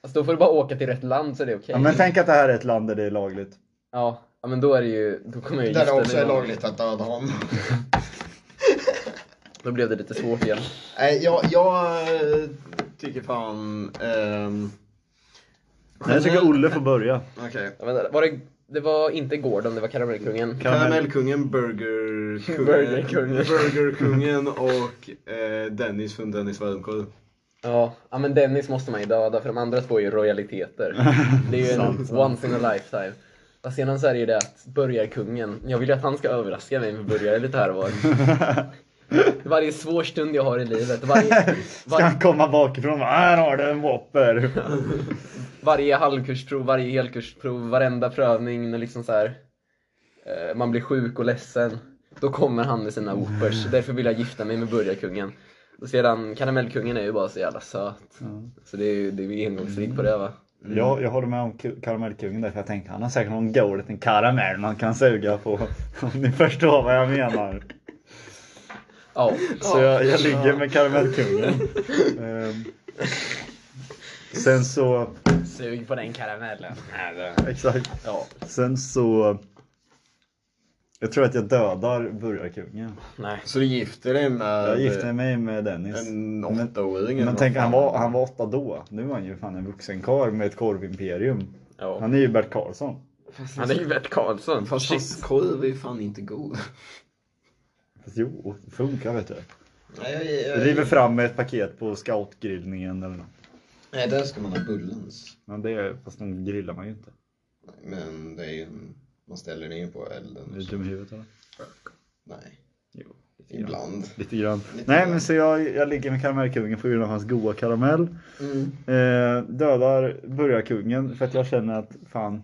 Speaker 3: Alltså då får du bara åka till rätt land så är det okej.
Speaker 2: Ja, men tänk att det här är ett land där det är lagligt.
Speaker 3: ja. ja, men då är det ju, då kommer jag ju
Speaker 1: Där det
Speaker 3: gifta
Speaker 1: också
Speaker 3: mig
Speaker 1: är
Speaker 3: med-
Speaker 1: lagligt att döda honom.
Speaker 3: Då blev det lite svårt igen.
Speaker 1: Nej, jag, jag eh, tycker fan... ehm,
Speaker 2: Nej, jag tycker Olle får börja.
Speaker 1: Okej.
Speaker 3: Jag vet inte, var det det var inte Gordon, det var Karamellkungen.
Speaker 1: Karamellkungen, Burgerkungen,
Speaker 3: Burgerkungen.
Speaker 1: Burgerkungen och eh, Dennis från Dennis Varmkorv.
Speaker 3: Ja, ja, men Dennis måste man ju döda för de andra två är ju royaliteter. Det är ju
Speaker 2: Sant,
Speaker 3: en
Speaker 2: sant.
Speaker 3: once in a lifetime. Fast sedan så är det ju det att börjarkungen, jag vill ju att han ska överraska mig med burgare lite här och var. Varje svår stund jag har i livet, varje,
Speaker 2: Ska
Speaker 3: var,
Speaker 2: han komma bakifrån och bara, här har du en Whopper.
Speaker 3: varje halvkursprov, varje helkursprov, varenda prövning när liksom så här, eh, man blir sjuk och ledsen. Då kommer han med sina whoopers, därför vill jag gifta mig med burgarkungen. Och sedan karamellkungen är ju bara så jävla söt. Så det är ju det är ju engångsrigg på det va.
Speaker 2: Ja, jag håller med om ku- karamellkungen där för jag tänkte han har säkert någon god liten karamell man kan suga på. Om ni förstår vad jag menar.
Speaker 3: Ja.
Speaker 2: Så jag, jag ligger med karamellkungen. Ehm, Sen så,
Speaker 3: Sug på den karamellen.
Speaker 2: exakt.
Speaker 3: Ja.
Speaker 2: Sen så. Jag tror att jag dödar burgarkungen.
Speaker 3: Nej.
Speaker 5: Så du gifter dig med
Speaker 2: Jag gifte mig med Dennis.
Speaker 5: Eh, en
Speaker 2: Men,
Speaker 5: åttaåring? eller
Speaker 2: men
Speaker 5: vad
Speaker 2: tänk han
Speaker 5: fan?
Speaker 2: var, han var åtta då. Nu är han ju fan en vuxen karl med ett korvimperium.
Speaker 3: Ja.
Speaker 2: Han är ju Bert Karlsson.
Speaker 3: Han är ju Bert Karlsson.
Speaker 1: Fast hans korv är fan inte god.
Speaker 2: Fast jo, det funkar vet du.
Speaker 1: Nej, jag,
Speaker 5: Eh,
Speaker 1: jag,
Speaker 2: River fram ett paket på scoutgrillningen eller något.
Speaker 1: Nej, där ska man ha bullens.
Speaker 2: Men det är, fast den grillar man ju inte.
Speaker 1: Men det är ju en... Man ställer den ju på elden.
Speaker 2: Är
Speaker 1: och
Speaker 2: du
Speaker 1: så.
Speaker 2: dum i huvudet eller?
Speaker 1: Nej,
Speaker 2: Jo. Lite grann.
Speaker 1: ibland.
Speaker 2: Lite grann.
Speaker 1: Lite
Speaker 2: Nej
Speaker 1: grann.
Speaker 2: men så jag, jag ligger med karamellkungen på grund av hans goa karamell.
Speaker 1: Mm.
Speaker 2: Eh, dödar burgarkungen för att jag känner att fan.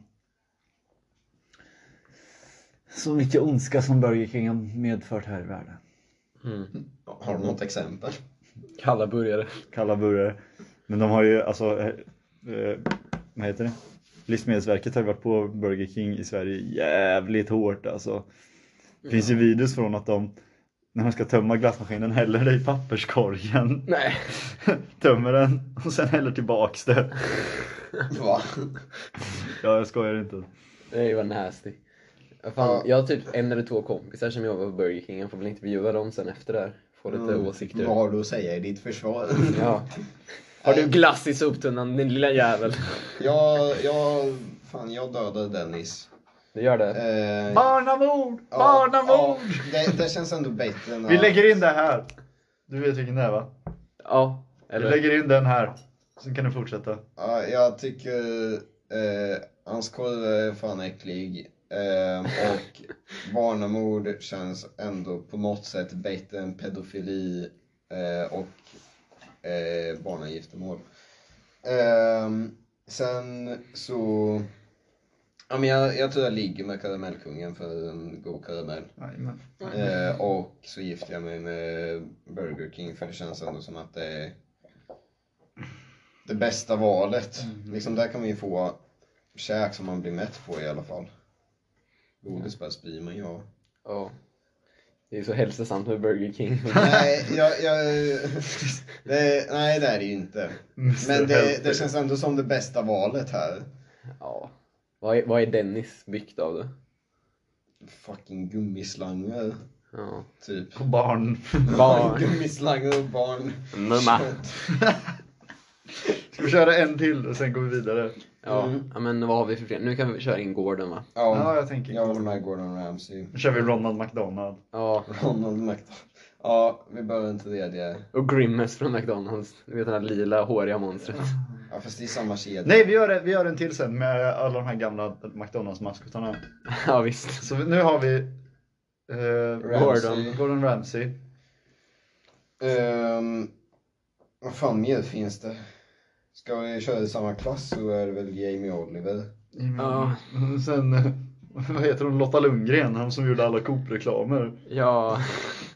Speaker 2: Så mycket ondska som Burger King har medfört här i världen.
Speaker 3: Mm.
Speaker 1: Har du något exempel?
Speaker 3: Kalla burgare.
Speaker 2: Kalla burgare. Men de har ju alltså, eh, eh, vad heter det? Livsmedelsverket har ju varit på Burger King i Sverige jävligt hårt alltså. Det finns ju videos från att de, när de ska tömma glassmaskinen, häller det i papperskorgen.
Speaker 3: Nej.
Speaker 2: Tömmer den och sen häller tillbaks det.
Speaker 1: Va?
Speaker 2: Ja, jag skojar inte.
Speaker 3: Det var nasty. Ja, Fan, jag har typ en eller två kompisar som jobbar på Burger King. Jag får väl intervjua dem sen efter det här. Få lite åsikter.
Speaker 1: Vad har du att säga i ditt försvar?
Speaker 3: Ja. Har du glass i soptunnan din lilla jävel?
Speaker 1: Jag, jag, fan jag dödade Dennis.
Speaker 3: Du gör det?
Speaker 1: Eh,
Speaker 2: Barnamord!
Speaker 1: ja,
Speaker 2: Barnamord!
Speaker 1: ja, det, det känns ändå bättre än
Speaker 2: Vi
Speaker 1: att-
Speaker 2: lägger in det här. Du vet vilken det är va?
Speaker 3: Ja.
Speaker 2: Vi
Speaker 3: Eller?
Speaker 2: lägger in den här. Sen kan du fortsätta.
Speaker 1: Ja, jag tycker eh, hans korv är fan äcklig. Eh, och barnamord känns ändå på något sätt bättre än pedofili eh, och eh, barnagiftermål. Ehm, sen så... Ja, men jag, jag tror jag ligger med Karamellkungen för en god karamell.
Speaker 2: Jajamän.
Speaker 1: Eh, och så gifte jag mig med Burger King för det känns ändå som att det är det bästa valet. Liksom där kan man ju få käk som man blir mätt på i alla fall. Godis bäst blir man ju av.
Speaker 3: Ja. Det är så hälsosamt med Burger King.
Speaker 1: Nej, jag, jag, det, nej det är det ju inte. Men det, det känns ändå som det bästa valet här.
Speaker 3: Ja. Vad är, vad är Dennis byggt av då?
Speaker 1: Fucking gummislangar,
Speaker 3: Ja.
Speaker 1: typ.
Speaker 2: På barn.
Speaker 3: Barn.
Speaker 1: gummislangar och barn.
Speaker 5: Mumma.
Speaker 2: Ska vi köra en till och sen går vi vidare?
Speaker 3: Ja,
Speaker 1: Mm.
Speaker 3: ja, men vad har vi för fler? Nu kan vi köra in Gordon va?
Speaker 2: Ja,
Speaker 1: Ja,
Speaker 2: jag tänker.
Speaker 1: jag håller med Gordon Ramsay.
Speaker 2: Nu kör vi Ronald McDonald.
Speaker 3: Ja,
Speaker 1: Ronald McDonald. Ja, vi behöver inte det. det är-
Speaker 3: och Grimace från McDonalds. Du vet den här lila håriga monstret.
Speaker 1: Ja, fast det är samma kedja.
Speaker 2: Nej, vi gör, det- vi gör en till sen med alla de här gamla McDonalds-maskotarna.
Speaker 3: Ja visst.
Speaker 2: Så vi- nu har vi eh,
Speaker 1: Ramsay.
Speaker 2: Gordon, Gordon Ramsay.
Speaker 1: Ehm, vad fan mer finns det? Ska vi köra i samma klass så är det väl Jamie Oliver.
Speaker 3: Ja.
Speaker 2: Sen, eh, vad heter hon, Lotta Lundgren, hon som gjorde alla Coop-reklamer.
Speaker 3: Ja,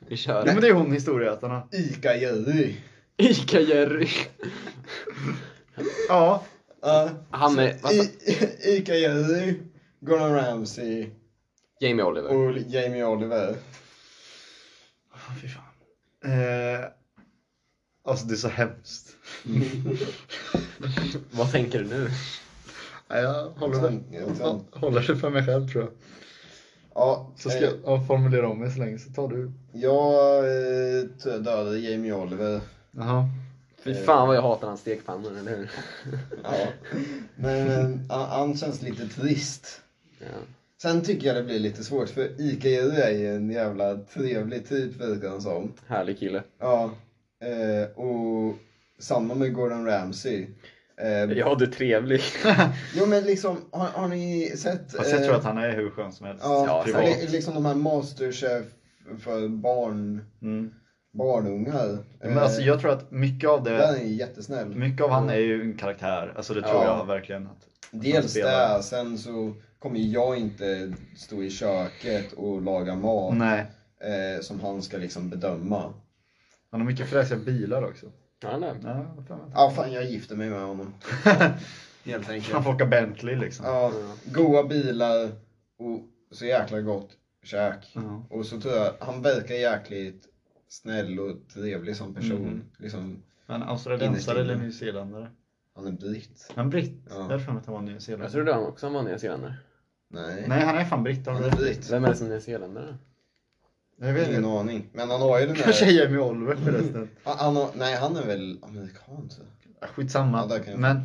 Speaker 3: vi kör.
Speaker 2: Jo men det är hon, Historieätarna.
Speaker 1: Ica-Jerry.
Speaker 3: Ica-Jerry.
Speaker 2: Ja,
Speaker 1: Ja.
Speaker 3: Han är, vad sa-
Speaker 1: I- Ica-Jerry, Gordon Ramsay
Speaker 3: Jamie Oliver.
Speaker 1: och Jamie Oliver.
Speaker 2: Åh, Fy fan. Eh, alltså det är så hemskt.
Speaker 3: Vad tänker du nu?
Speaker 2: Ja, jag håller det,
Speaker 1: Jag tar en-
Speaker 2: håller det för mig själv tror jag.
Speaker 1: Ja,
Speaker 2: Så ska jag
Speaker 1: eh,
Speaker 2: ja, formulera om mig så länge, så tar du.
Speaker 1: jag eh, dödade Jamie Oliver.
Speaker 2: Jaha.
Speaker 3: Fy fan vad jag hatar hans stekpannor, eller hur?
Speaker 1: Ja. Men eh, han- han känns lite trist.
Speaker 3: Ja.
Speaker 1: Sen tycker jag det blir lite svårt för Ica är ju en jävla trevlig typ verkar han som.
Speaker 3: Härlig kille.
Speaker 1: Ja. Eh, och samma med Gordon Ramsay. Eh,
Speaker 3: Ja, du är trevlig.
Speaker 1: Jo men liksom, har, har ni sett?
Speaker 2: Fast jag
Speaker 1: eh,
Speaker 2: tror att han är hur skön som helst.
Speaker 1: Ja,
Speaker 2: privat.
Speaker 1: li- liksom de här Masterchef för barn,
Speaker 2: Mm.
Speaker 1: barnungar. Eh,
Speaker 2: Men alltså, jag tror att mycket av det
Speaker 1: Den är jättesnäll.
Speaker 2: Mycket av han är ju en karaktär, alltså det tror
Speaker 1: Ja.
Speaker 2: jag verkligen. Att, han
Speaker 1: Dels
Speaker 2: spelar.
Speaker 1: det, sen så kommer ju jag inte stå i köket och laga mat
Speaker 2: Nej,
Speaker 1: eh, som han ska liksom bedöma.
Speaker 2: han har mycket fräsiga bilar också.
Speaker 3: Ja, nej.
Speaker 2: Ja, vad fan.
Speaker 1: Ja, fan jag gifter mig med honom. Helt
Speaker 2: han
Speaker 1: enkelt.
Speaker 2: får åka Bentley liksom.
Speaker 1: Ja, goa bilar och så jäkla gott käk.
Speaker 2: Ja.
Speaker 1: Och så tror jag, han verkar jäkligt snäll och trevlig som person.
Speaker 2: Mm.
Speaker 1: Liksom,
Speaker 2: Men alltså,
Speaker 1: Innerst inne.
Speaker 2: australiensare eller nyzeeländare?
Speaker 1: han är britt.
Speaker 2: Han är britt.
Speaker 1: Ja.
Speaker 2: Jag har för mig att han var
Speaker 3: Jag
Speaker 2: nyzeeländare.
Speaker 3: trodde han också var nyzeeländare.
Speaker 1: Nej.
Speaker 2: Nej, han är fan britt. har
Speaker 1: Han
Speaker 2: du
Speaker 1: är
Speaker 2: rätt?
Speaker 1: britt.
Speaker 3: Vem är det som är nyzeeländare?
Speaker 2: Jag vet
Speaker 1: Ingen
Speaker 2: inte.
Speaker 1: aning. Mm. Men han har ju den
Speaker 2: Kanske
Speaker 1: där...
Speaker 2: Jamie Oliver förresten.
Speaker 1: Han, han har, nej, han är väl amerikan tror jag.
Speaker 2: Ja, Skitsamma.
Speaker 1: Ja, där kan jag-
Speaker 2: Men.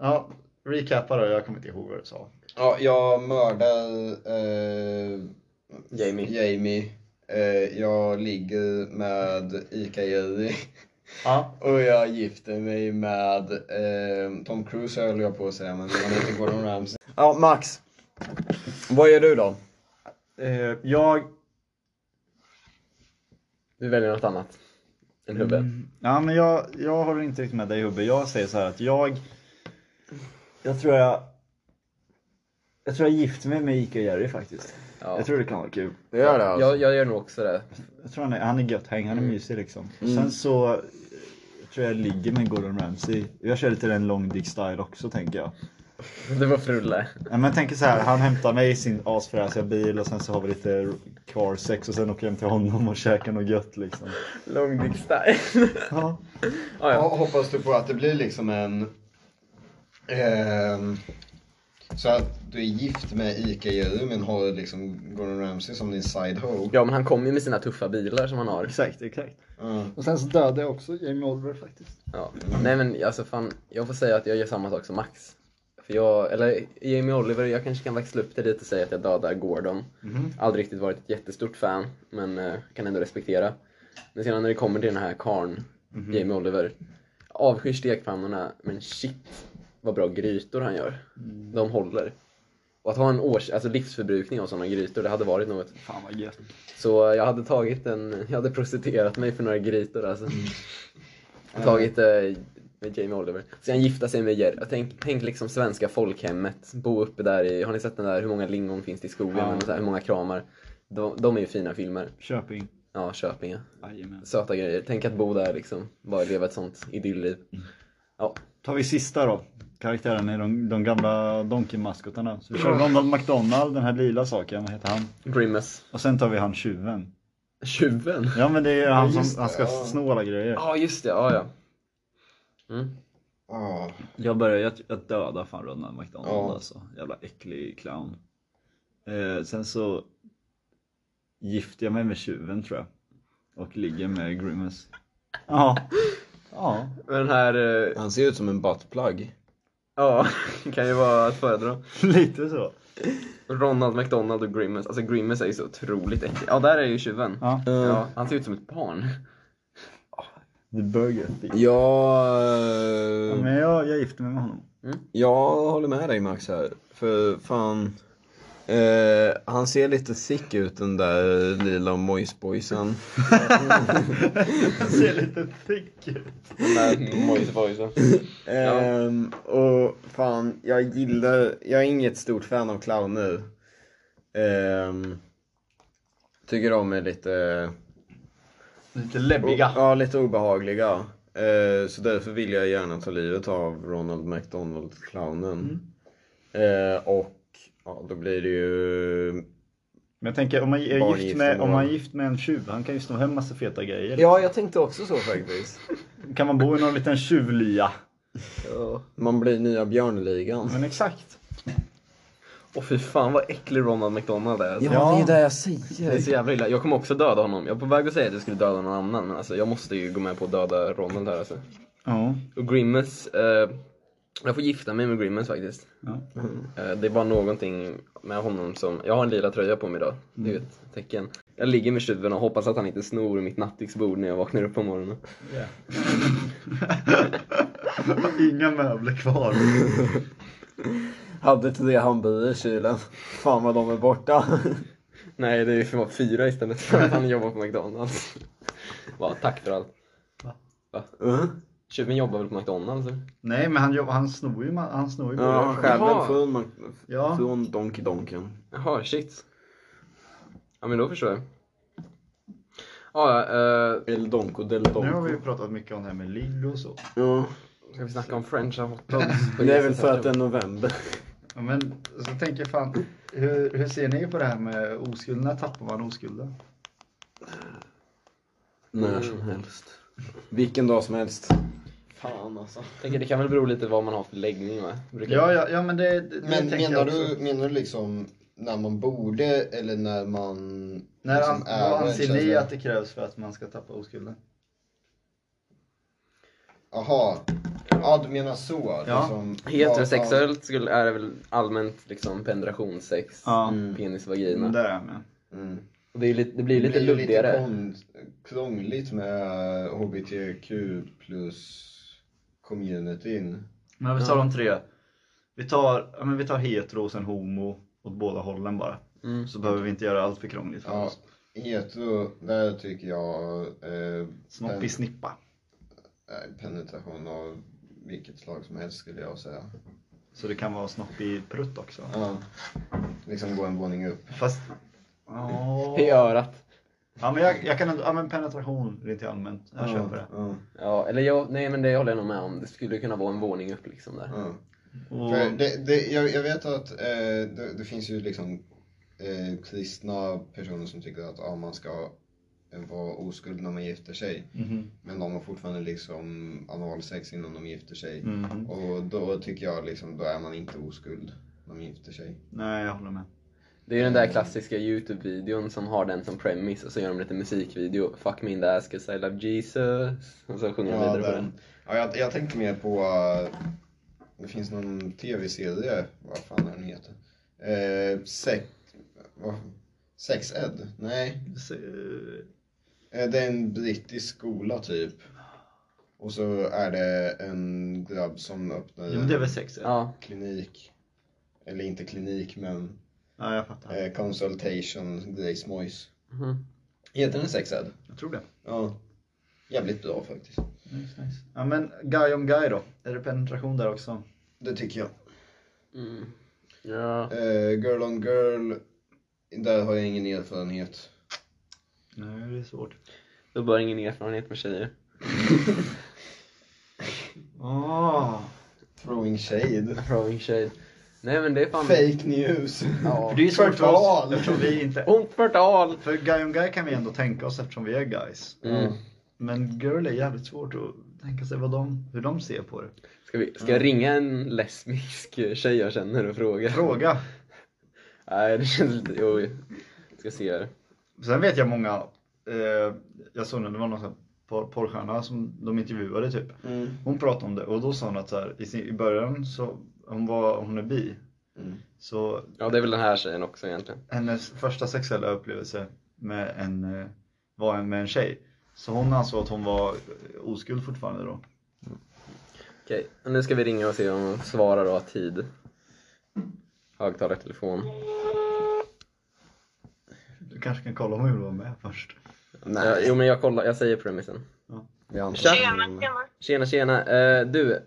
Speaker 2: Ja, recapa då. Jag kommer inte ihåg vad du sa.
Speaker 1: Ja, jag mördar eh,
Speaker 3: Jamie.
Speaker 1: Jamie. Eh, jag ligger med Ica-Jerry.
Speaker 2: Ja,
Speaker 1: Och jag gifter mig med eh, Tom Cruise höll jag på att säga, men han heter Gordon Ramsay.
Speaker 5: Ja, Max. Vad gör du då?
Speaker 2: eh, jag.
Speaker 3: Du väljer något annat. En hubbe.
Speaker 2: Mm. Ja, men jag, jag håller inte riktigt med dig Hubbe. Jag säger så här att jag. Jag tror jag. Jag tror jag gifter mig med Ica Jerry faktiskt.
Speaker 3: Ja.
Speaker 2: Jag tror det kan vara kul.
Speaker 5: Du gör det alltså?
Speaker 3: jag, jag gör nog också det.
Speaker 2: Jag tror han är, han är gött häng, han är mysig liksom. Och sen så eh, tror jag ligger med Gordon Ramsay. Jag kör lite den long dick style också tänker jag.
Speaker 3: Det var Frulle.
Speaker 2: Ja, men jag tänker så här, han hämtar mig i sin asfräsiga bil och sen så har vi lite car sex och sen åker jag hem till honom och käkar något gött liksom.
Speaker 3: Long dick style.
Speaker 2: Ja.
Speaker 3: ah,
Speaker 1: Ja,
Speaker 3: ja.
Speaker 1: hoppas du på att det blir liksom en... ehm, så att du är gift med Ica-Jerry men har liksom Gordon Ramsay som din side-hoe.
Speaker 3: ja, men han kommer ju med sina tuffa bilar som han har.
Speaker 2: Exakt, exakt.
Speaker 1: Ja.
Speaker 2: Och sen så dödade jag också Jamie Oliver faktiskt.
Speaker 3: Ja. Nej men alltså fan, jag får säga att jag gör samma sak som Max. För jag, eller Jamie Oliver, jag kanske kan växla upp det lite och säga att jag dödar Gordon.
Speaker 2: Mm-hmm.
Speaker 3: Aldrig riktigt varit ett jättestort fan, men eh, kan ändå respektera. Men sedan när det kommer till den här karn, Jamie Oliver. Avskyr stekpannorna, men shit vad bra grytor han gör. De håller. Och att ha en års, alltså livsförbrukning av sådana grytor, det hade varit något.
Speaker 2: Fan vad gött.
Speaker 3: Så jag hade tagit en, jag hade prostituerat mig för några grytor alltså.
Speaker 2: Mm.
Speaker 3: Tagit eh, med Jamie Oliver. Sen gifta sig med Jerry. Tänk, tänk liksom svenska folkhemmet. Bo uppe där i, har ni sett den där hur många lingon finns det i skogen?
Speaker 2: Ja.
Speaker 3: Och så här, hur många kramar? De, de är ju fina filmer.
Speaker 2: Köping.
Speaker 3: Ja, Köpinge.
Speaker 2: Jajamän.
Speaker 3: Söta grejer. Tänk att bo där liksom. Bara leva ett sånt idylliv.
Speaker 2: Mm.
Speaker 3: Ja,
Speaker 2: Tar vi sista då. Karaktären i de, de gamla Donkey-maskotarna. Så vi kör Ronald McDonald, den här lila saken, vad heter han?
Speaker 3: Grimace.
Speaker 2: Och sen tar vi han tjuven.
Speaker 3: Tjuven.
Speaker 2: Ja men det är ju han
Speaker 1: just
Speaker 2: som
Speaker 1: det,
Speaker 2: han ska
Speaker 1: ja.
Speaker 2: sno alla grejer.
Speaker 3: Ja, just det. Ja, ja. Mm.
Speaker 1: Ja.
Speaker 2: Jag börjar, jag, jag dödar fan Ronald McDonald
Speaker 1: Ja.
Speaker 2: alltså. Jävla äcklig clown. Eh, sen så gifter jag mig med tjuven tror jag. Och ligger med Grimace. Ja. Ja.
Speaker 3: Men den här, eh,
Speaker 1: Han ser ut som en buttplug.
Speaker 3: ja, kan ju vara att föredra.
Speaker 2: Lite så.
Speaker 3: Ronald McDonald och Grimace. Alltså Grimace är ju så otroligt äcklig. Ja, där är ju tjuven.
Speaker 2: Ja.
Speaker 3: Ja, han ser ut som ett barn.
Speaker 2: The Burger Thief.
Speaker 1: Jag...
Speaker 2: Ja, men jag, jag gifter mig med honom.
Speaker 1: Jag håller med dig Max här. För fan. Eh, han ser lite sick ut den där lila mojsboysen.
Speaker 2: Han ser lite thick ut.
Speaker 3: Den där mojseboysen.
Speaker 1: Ehm, och fan, jag gillar, jag är inget stort fan av clowner. Ehm, tycker de är lite,
Speaker 2: Lite
Speaker 1: o-
Speaker 2: läbbiga.
Speaker 1: ja, lite obehagliga. Ehm, så därför vill jag gärna ta livet av Ronald McDonald clownen. Ehm, och ja, då blir det ju
Speaker 2: Men jag tänker om man är
Speaker 1: Barngifte
Speaker 2: gift med,
Speaker 1: med
Speaker 2: om man är
Speaker 1: barn.
Speaker 2: gift med en tjuv, han kan ju sno hem massa feta grejer.
Speaker 5: Ja, jag tänkte också så faktiskt.
Speaker 2: Kan man bo i någon liten tjuvlya?
Speaker 1: Man blir nya björnligan.
Speaker 2: Men exakt.
Speaker 3: Och fy fan vad äcklig Ronald McDonald är. Alltså.
Speaker 2: Ja.
Speaker 5: det jag
Speaker 3: Det är
Speaker 5: säger.
Speaker 3: så jävla illa. Jag kommer också döda honom. Jag var på väg att säga att jag skulle döda någon annan, men alltså jag måste ju gå med på att döda Ronald här alltså.
Speaker 2: Ja.
Speaker 3: Och Grimace, eh, Jag får gifta mig med Grimmens faktiskt.
Speaker 6: Ja.
Speaker 3: Eh, Det var någonting med honom som, jag har en lila tröja på mig idag, det är ju
Speaker 7: Mm.
Speaker 3: ett tecken. Jag ligger med tjuven och hoppas att han inte snor mitt nattduksbord när jag vaknar upp på morgonen.
Speaker 6: Inga möbler kvar.
Speaker 7: Hade inte det hamburgare i kylen. Fan vad de är borta.
Speaker 3: Nej, det är ju för att fyra istället för att han jobbar på McDonalds. Va, tack för allt.
Speaker 7: Mm.
Speaker 3: Tjuven jobbar väl på McDonalds? eller?
Speaker 2: Nej, men han, jobb- han snor ju, ma- han snor ju
Speaker 1: Ja, han stjäl
Speaker 2: burgare.
Speaker 3: Jaha.
Speaker 1: väl från, Mac-
Speaker 2: Ja.
Speaker 1: från Donkey Donken.
Speaker 3: Jaha, shit. Ja, men då förstår jag. Ja, eh,
Speaker 1: Eller Donko del
Speaker 2: Nu har vi
Speaker 1: Donko.
Speaker 2: ju pratat mycket om det här med ligg och så.
Speaker 1: Ja.
Speaker 3: ska vi snacka om french hotdogs?
Speaker 7: Det är väl för att det är november.
Speaker 2: Ja, men så tänker jag fan, hur, hur ser ni på det här med oskulden? När tappar man oskulden?
Speaker 7: När som helst. Vilken dag som helst.
Speaker 1: Fan alltså.
Speaker 3: Tänker det kan väl bero lite vad man har för läggning va? Brukar-
Speaker 2: Ja, ja, ja men det, det
Speaker 1: Men
Speaker 2: tänker jag
Speaker 1: menar
Speaker 2: också.
Speaker 1: du, menar du liksom när man borde eller när man...
Speaker 2: När
Speaker 1: liksom
Speaker 2: an, vad anser ni
Speaker 1: välkänslig?
Speaker 2: att det krävs för att man ska tappa oskulden?
Speaker 1: Jaha. Ja, du menar så.
Speaker 2: Ja.
Speaker 1: Liksom,
Speaker 3: Heterosexuellt skulle, är det väl allmänt liksom penetrationssex,
Speaker 2: Ja.
Speaker 1: Mm.
Speaker 3: penis, vagina.
Speaker 2: Där är jag med.
Speaker 1: Mm.
Speaker 3: Och Det, är ju lite, det blir ju lite
Speaker 1: det blir ju
Speaker 3: luddigare.
Speaker 1: lite kon- krångligt med HBTQ plus communityn.
Speaker 2: Men vi tar de tre. Vi tar, ja, men vi tar hetero och sen homo åt båda hållen bara.
Speaker 3: Mm.
Speaker 2: Så behöver vi inte göra allt för krångligt för
Speaker 1: Ja,
Speaker 2: oss.
Speaker 1: hetero, där tycker jag eh,
Speaker 2: Snopp i snippa.
Speaker 1: nej, eh, penetration av vilket slag som helst skulle jag säga.
Speaker 2: Så det kan vara snopp i prutt också.
Speaker 1: Ja. Liksom gå en våning upp.
Speaker 2: Fast... Ja.
Speaker 3: I örat.
Speaker 2: Ja men jag, jag kan ändå, ja men penetration rent allmänt. Jag köper det.
Speaker 1: Ja,
Speaker 3: Ja, eller jag, nej men det håller jag nog med om. Det skulle kunna vara en våning upp liksom där.
Speaker 1: ja.
Speaker 2: Och,
Speaker 1: För det, det, jag, jag vet att eh, det, det finns ju liksom eh, kristna personer som tycker att ah, man ska eh, vara oskuld när man gifter sig.
Speaker 2: Mhm.
Speaker 1: Men de har fortfarande liksom analsex innan de gifter sig.
Speaker 2: Mhm.
Speaker 1: Och då tycker jag liksom, då är man inte oskuld när man gifter sig.
Speaker 2: Nej jag håller med.
Speaker 3: Det är ju den där klassiska YouTube-videon som har den som premise och så gör de lite musikvideo. Fuck me in the ass 'cause I love Jesus. Och så sjunger de
Speaker 1: Ja,
Speaker 3: vidare på den.
Speaker 1: den, ja, jag, jag tänkte mer på, eh, det finns någon tv-serie, vad fan är den heter? Eh, sex, vad, sex Ed? Nej.
Speaker 2: Så, eh,
Speaker 1: Eh, Det är en brittisk skola typ. Och så är det en grabb som öppnar
Speaker 2: Jo men det är väl sex? Ja,
Speaker 3: Ja,
Speaker 1: en klinik. Eller inte klinik men
Speaker 2: ja jag fattar.
Speaker 1: eh, Consultation Grace Moyes.
Speaker 3: Mhm.
Speaker 1: Heter den sexad?
Speaker 2: Jag tror det.
Speaker 1: Ja. Jävligt bra faktiskt.
Speaker 2: Nice, nice. Ja men guy om guy då. Är det penetration där också?
Speaker 1: Det tycker jag.
Speaker 3: ja.
Speaker 1: Eh, girl on girl. Där har jag ingen erfarenhet.
Speaker 2: Nej det är svårt.
Speaker 3: Då bör ingen erfarenhet med tjejer.
Speaker 2: Ah.
Speaker 1: Throwing shade.
Speaker 3: Throwing shade. Nej men det är fan...
Speaker 1: Fake news.
Speaker 2: För
Speaker 3: Ja.
Speaker 2: det är ju svårt för oss Oh.
Speaker 1: Förtal.
Speaker 2: eftersom vi inte...
Speaker 3: Ont förtal!
Speaker 2: För guy on guy kan vi ändå tänka oss eftersom vi är guys.
Speaker 3: Mm.
Speaker 2: Men girl är jävligt svårt att tänka sig vad de, hur de ser på det.
Speaker 3: Ska, vi, ska jag ringa en lesbisk tjej jag känner och fråga?
Speaker 2: Fråga.
Speaker 3: Nej, det känns lite... Jo, ska se här.
Speaker 2: Sen vet jag många, eh, jag såg när det var någon sån här por- porrstjärna som de intervjuade typ.
Speaker 1: Mm.
Speaker 2: Hon pratade om det och då sa hon att så här, i, sin, i början så, hon, var, hon är bi.
Speaker 1: Mm.
Speaker 2: Så
Speaker 3: Ja, det är väl den här tjejen också egentligen.
Speaker 2: hennes första sexuella upplevelse med en, eh, var en, med en tjej. Så hon ansåg att hon var eh, oskuld fortfarande då.
Speaker 3: Okej, och nu ska vi ringa och se om hon svarar och har tid. Högtalartelefon.
Speaker 2: Du kanske kan kolla om hon vill vara med först.
Speaker 3: Nej. Ja, jo, men jag kollar. Jag säger premisen.
Speaker 1: Jag antar
Speaker 3: Tja!
Speaker 8: Tjena, tjena.
Speaker 3: Tjena, tjena. Eh, du,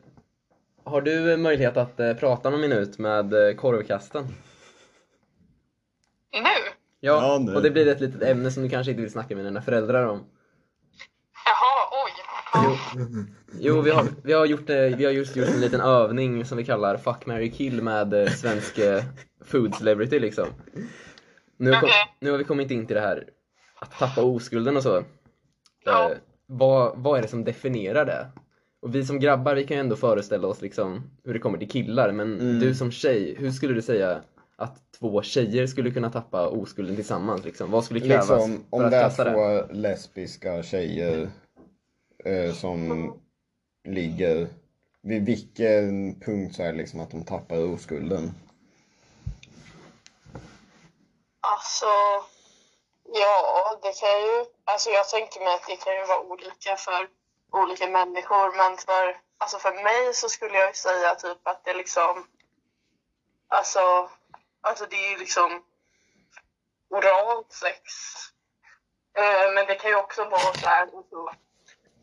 Speaker 3: har du eh, möjlighet att eh, prata någon minut med eh, korvkasten?
Speaker 8: Nu?
Speaker 6: Ja,
Speaker 3: Ja,
Speaker 6: nu.
Speaker 3: och det blir ett litet ämne som du kanske inte vill snacka med dina föräldrar om.
Speaker 8: Jaha, oj.
Speaker 3: Jo, jo vi, har, vi, har gjort, eh, vi har just gjort en liten övning som vi kallar Fuck, marry, kill med eh, svensk eh, food celebrity liksom. Nu, har kom,
Speaker 8: Okej.
Speaker 3: nu har vi kommit in till det här att tappa oskulden och så. Eh,
Speaker 8: Ja.
Speaker 3: vad, vad är det som definierar det? Och vi som grabbar vi kan ju ändå föreställa oss liksom hur det kommer till killar men
Speaker 1: Mm.
Speaker 3: du som tjej, hur skulle du säga att två tjejer skulle kunna tappa oskulden tillsammans? Liksom? Vad skulle krävas
Speaker 1: Liksom, om
Speaker 3: för att
Speaker 1: det är
Speaker 3: kasta det?
Speaker 1: två lesbiska tjejer eh, som ligger vid vilken punkt så är det liksom att de tappar oskulden?
Speaker 8: Alltså, ja, det kan ju... Alltså jag tänker mig att det kan ju vara olika för olika människor, men för, alltså för mig så skulle jag ju säga typ att det liksom... Alltså, alltså det är ju liksom oralt sex. Eh, men det kan ju också vara så här alltså,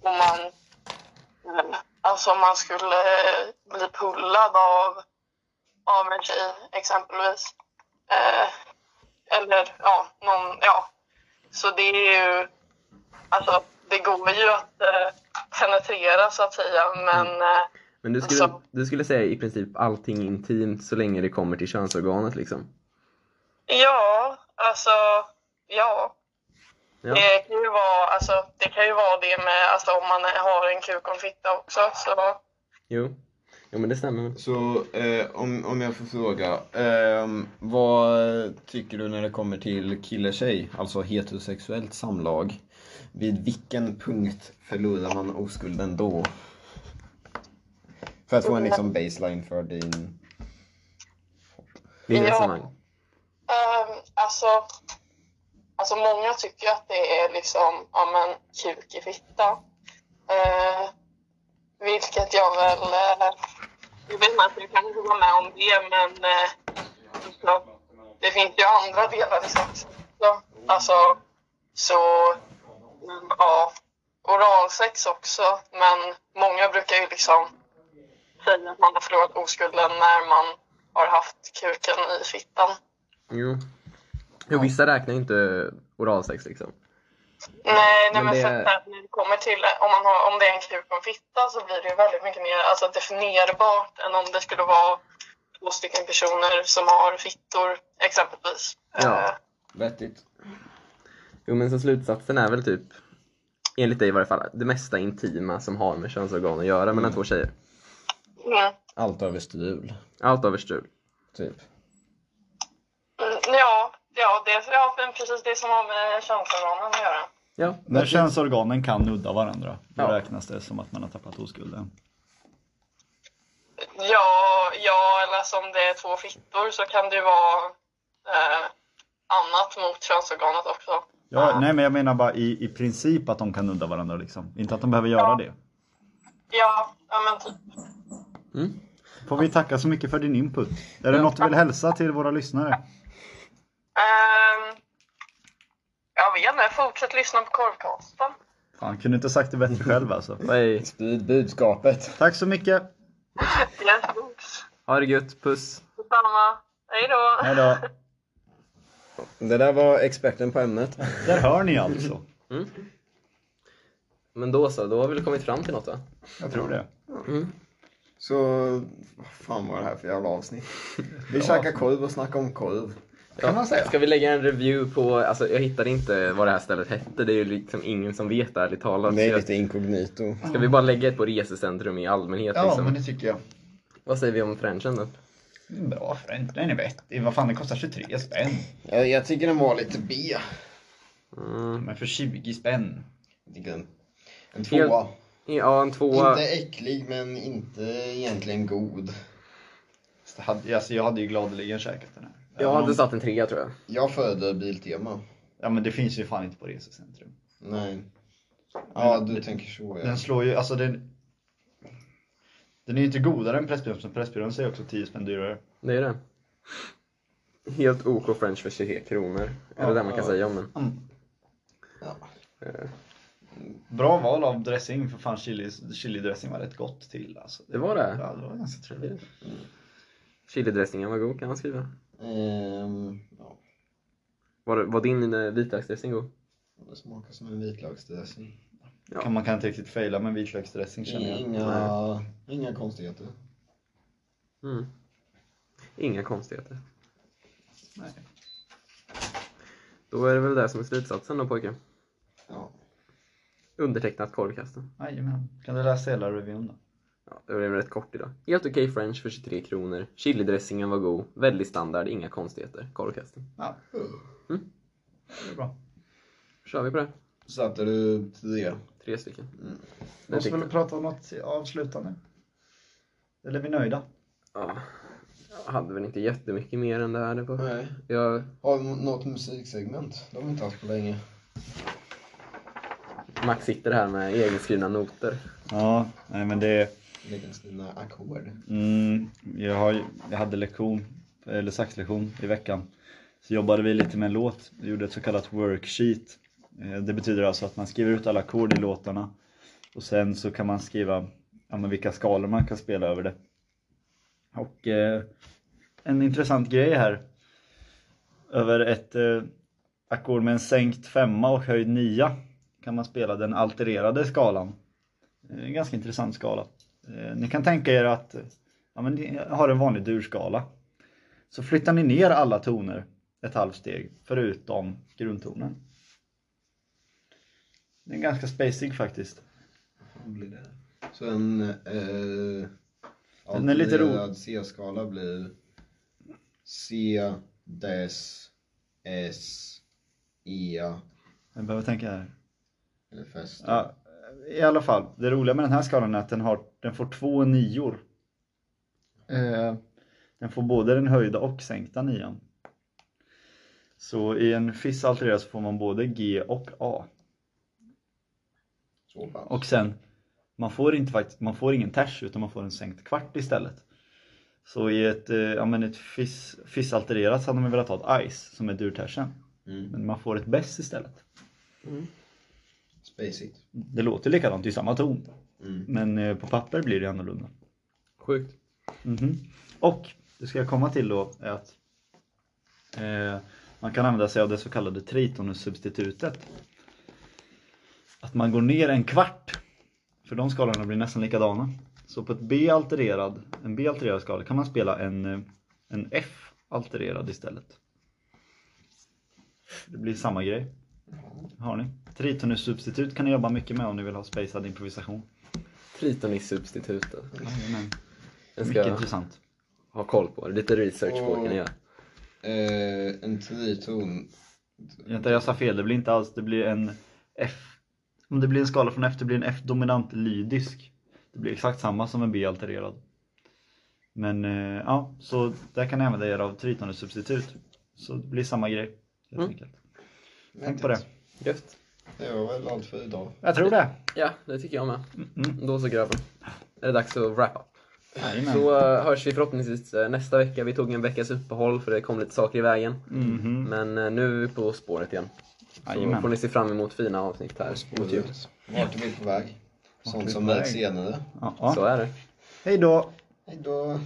Speaker 8: om man... eh, Alltså om man skulle eh, bli pullad av, av en tjej exempelvis. Eh, eller ja, någon, ja. Så det är ju, alltså det går ju att eh, penetrera så att säga, men eh,
Speaker 3: Men du skulle,
Speaker 8: Alltså-
Speaker 3: du skulle säga i princip allting intimt så länge det kommer till könsorganet liksom?
Speaker 8: ja, alltså ja.
Speaker 3: Ja.
Speaker 8: Det kan ju vara, alltså det kan ju vara det med, alltså om man har en kuk och en fitta också så.
Speaker 3: Jo. Jo men det stämmer.
Speaker 1: Så eh, om, om jag får fråga, ehm, vad tycker du när det kommer till kille-tjej, alltså heterosexuellt samlag? Vid vilken punkt förlorar man oskulden då? För att få en liksom baseline för din...
Speaker 3: Ditt
Speaker 8: Ja.
Speaker 3: resonemang.
Speaker 8: Um, alltså, alltså, många tycker ju att det är liksom, ja men, kuk i fitta. Eh, vilket jag väl, eh, jag vet inte, alltså, jag kan inte vara med om det, men eh, alltså, det finns ju andra delar i sex också. Alltså, så, mm, ja, oralsex också, men många brukar ju liksom säga att man har förlorat oskulden när man har haft kuken i fittan.
Speaker 3: Jo. Jo, vissa räknar ju inte oralsex liksom.
Speaker 8: Nej,
Speaker 3: Men
Speaker 8: nej men,
Speaker 3: det-
Speaker 8: för att när det kommer till om, man har, om det är en kuk och en fitta så blir det ju väldigt mycket mer alltså, definierbart än om det skulle vara två stycken personer som har fittor exempelvis.
Speaker 3: Ja.
Speaker 8: Eh,
Speaker 1: Vettigt.
Speaker 3: Jo men så slutsatsen är väl typ, enligt dig i varje fall, det mesta intima som har med könsorgan att göra mellan två tjejer.
Speaker 8: mm.
Speaker 1: Allt över strul,
Speaker 3: Allt över strul.
Speaker 1: typ.
Speaker 8: Mm, ja, ja, det, ja, men precis det som har med könsorganen att göra.
Speaker 3: Ja.
Speaker 2: När könsorganen kan nudda varandra, då
Speaker 3: Ja.
Speaker 2: räknas det som att man har tappat oskulden.
Speaker 8: Ja, ja, eller alltså, om det är två fittor så kan det ju vara eh, annat mot könsorganet också.
Speaker 2: Ja, Nej men jag menar bara i, i princip att de kan nudda varandra liksom. Inte att de behöver göra
Speaker 8: Ja.
Speaker 2: det.
Speaker 8: Ja, ja men typ.
Speaker 2: Får vi tacka så mycket för din input. Är det något du vill hälsa till våra lyssnare?
Speaker 8: Ehm, jag vet inte, fortsätt lyssna på korvkasten.
Speaker 2: Fan, kunde inte sagt det bättre själv alltså.
Speaker 3: Hej.
Speaker 1: Sprid budskapet.
Speaker 2: Tack så mycket!
Speaker 8: Yes, oops.
Speaker 3: Ha det gött, puss.
Speaker 8: Detsamma. Hej då.
Speaker 2: Hejdå!
Speaker 1: Det där var experten på ämnet.
Speaker 2: Där hör ni alltså.
Speaker 3: Men då så, då har vi väl kommit fram till något va?
Speaker 2: Jag tror det.
Speaker 1: Så, vad fan var det här för jävla avsnitt? Vi käkar korv och snackar om korv. Kan man säga.
Speaker 3: Ska vi lägga en review på, alltså jag hittade inte vad det här stället hette, det är ju liksom ingen som vet ärligt talat.
Speaker 1: Det
Speaker 3: Så
Speaker 1: är
Speaker 3: jag-
Speaker 1: lite inkognito.
Speaker 3: Ska vi bara lägga ett på resecentrum i allmänhet
Speaker 4: Ja,
Speaker 3: liksom?
Speaker 4: men det tycker jag.
Speaker 3: Vad säger vi om Frenchen då?
Speaker 4: Bra French, den är vettig. Vad fan, den kostar 23 spänn.
Speaker 1: Jag, jag tycker den var lite B.
Speaker 3: Mm.
Speaker 4: Men för 20 spänn.
Speaker 1: Jag tycker den- En
Speaker 3: Helt-
Speaker 1: tvåa.
Speaker 3: Ja, en tvåa.
Speaker 1: Inte äcklig men inte egentligen god.
Speaker 4: Så det hade- Alltså, jag hade ju gladeligen käkat den här.
Speaker 3: Jag
Speaker 4: Även om-
Speaker 3: hade satt en trea tror jag.
Speaker 1: Jag föredrar Biltema.
Speaker 4: Ja men det finns ju fan inte på resecentrum.
Speaker 1: Nej. Ja, du tänker så ja.
Speaker 4: Den slår ju, alltså den... Den är ju inte godare än Pressbyrån, som Pressbyrån säger också 10 spänn dyrare.
Speaker 3: Det är det. Helt OK French för 23 kronor. Är det det man kan säga om den?
Speaker 2: Mm.
Speaker 1: Ja.
Speaker 4: Bra val av dressing, för fan chili, chili dressing var rätt gott till alltså.
Speaker 3: Det var det?
Speaker 4: Ja, det var ganska trevligt.
Speaker 3: Chilidressingen var god kan man skriva.
Speaker 1: Ehm, ja.
Speaker 3: Var, var din eh, vitlöksdressing god?
Speaker 1: Det smakar som en vitlöksdressing.
Speaker 3: Ja.
Speaker 4: Kan man kan inte riktigt faila med vitlöksdressing känner jag.
Speaker 1: Inga, inga konstigheter.
Speaker 3: Mm. Inga konstigheter.
Speaker 4: Nej.
Speaker 3: Då är det väl det som är slutsatsen då pojken.
Speaker 1: Ja.
Speaker 3: Undertecknat korvkasten.
Speaker 4: Jajamän. Kan du läsa hela revyn då?
Speaker 3: Ja, det blev rätt kort idag. Helt okej French för 23 kronor. Chilidressingen var god. Väldigt standard, inga konstigheter. Korvkasten.
Speaker 4: Ja.
Speaker 3: Mm.
Speaker 4: Det är bra.
Speaker 3: kör vi på det.
Speaker 1: Satte du till det?
Speaker 3: Tre stycken.
Speaker 1: Mm.
Speaker 3: Det
Speaker 4: Måste
Speaker 3: tyckte
Speaker 4: väl prata om något avslutande? Eller är vi nöjda?
Speaker 3: Ja. Jag hade väl inte jättemycket mer än det här. Det var-
Speaker 1: Nej.
Speaker 3: Jag,
Speaker 1: Har vi något musiksegment? Det har vi inte haft på länge.
Speaker 3: Max sitter här med egenskrivna noter.
Speaker 2: Ja, nej men det...
Speaker 1: Lägga sina ackord.
Speaker 2: Mm, jag, har, ju- jag hade lektion, eller saxlektion i veckan. Så jobbade vi lite med en låt, vi gjorde ett så kallat worksheet. Eh, Det betyder alltså att man skriver ut alla ackord i låtarna och sen så kan man skriva ja, men vilka skalor man kan spela över det. Och eh, en intressant grej här. Över ett eh, ackord med en sänkt femma och höjd nia kan man spela den altererade skalan. Eh, En ganska intressant skala. Eh, Ni kan tänka er att eh, ja, men ni har en vanlig durskala. Så flyttar ni ner alla toner ett halvt steg förutom grundtonen. Det är ganska spacig faktiskt.
Speaker 1: Vad blir det? Så en... Eh,
Speaker 2: Den är lite ro-
Speaker 1: alternerad C-skala blir C, Des, S, E
Speaker 2: Jag behöver tänka här.
Speaker 1: eller fest.
Speaker 2: Ja, I alla fall, det roliga med den här skalan är att den, har, den får två nior. Eh, Den får både den höjda och sänkta nian. Så i en fiss altererad så får man både G och A.
Speaker 1: Så pass.
Speaker 2: Och sen, man får, inte faktiskt, man får ingen ters utan man får en sänkt kvart istället. Så i ett, eh, ja, men ett fiss, fissaltererat så hade man velat ha ett ice som är durtersen.
Speaker 1: Mm.
Speaker 2: Men man får ett bess istället.
Speaker 1: Spacigt.
Speaker 2: Det låter likadant, det är samma ton.
Speaker 1: Mm.
Speaker 2: Men eh, på papper blir det annorlunda.
Speaker 3: Sjukt.
Speaker 2: Mhm. Och det ska jag komma till då är att eh, man kan använda sig av det så kallade tritonussubstitutet. Att man går ner en kvart, för de skalorna blir nästan likadana. Så på ett B altererad, en B altererad skala kan man spela en, eh, en F altererad istället. Det blir samma grej. Har ni? Tritonussubstitut kan ni jobba mycket med om ni vill ha spacad improvisation.
Speaker 3: Tritonis-substituten.
Speaker 2: Jajamän.
Speaker 3: Jag
Speaker 2: Mycket
Speaker 3: ska
Speaker 2: intressant.
Speaker 3: ha koll på det. Lite research på kan jag göra.
Speaker 1: Eh, en triton.
Speaker 2: Vänta, jag sa fel. Det blir inte alls. Det blir en F. Om det blir en skala från F, det blir en F-dominant lydisk. Det blir exakt samma som en B-altererad. Men eh, ja, så där kan ni använda er av tritonens substitut. Så det blir samma grej. Helt
Speaker 3: Mm.
Speaker 2: enkelt. Tänk på det.
Speaker 3: Gött.
Speaker 1: Det var väl allt för idag.
Speaker 2: Jag tror det.
Speaker 3: Ja, det tycker jag med.
Speaker 2: Mm.
Speaker 3: Då så grabben. Är det dags att wrap up?
Speaker 2: Jajamän.
Speaker 3: Så eh, hörs vi förhoppningsvis eh, nästa vecka. Vi tog en veckas uppehåll för det kom lite saker i vägen.
Speaker 2: Mhm.
Speaker 3: Men eh, nu är vi på spåret igen. Så
Speaker 2: Jajamän.
Speaker 3: får ni se fram emot fina avsnitt här. mot jul.
Speaker 1: Vart är vi på väg?
Speaker 2: är vi
Speaker 1: Sånt som
Speaker 2: på
Speaker 1: märks
Speaker 2: väg?
Speaker 1: senare.
Speaker 2: Ja,
Speaker 3: Så
Speaker 2: ja.
Speaker 3: är det.
Speaker 2: Hej då.
Speaker 1: Hej då.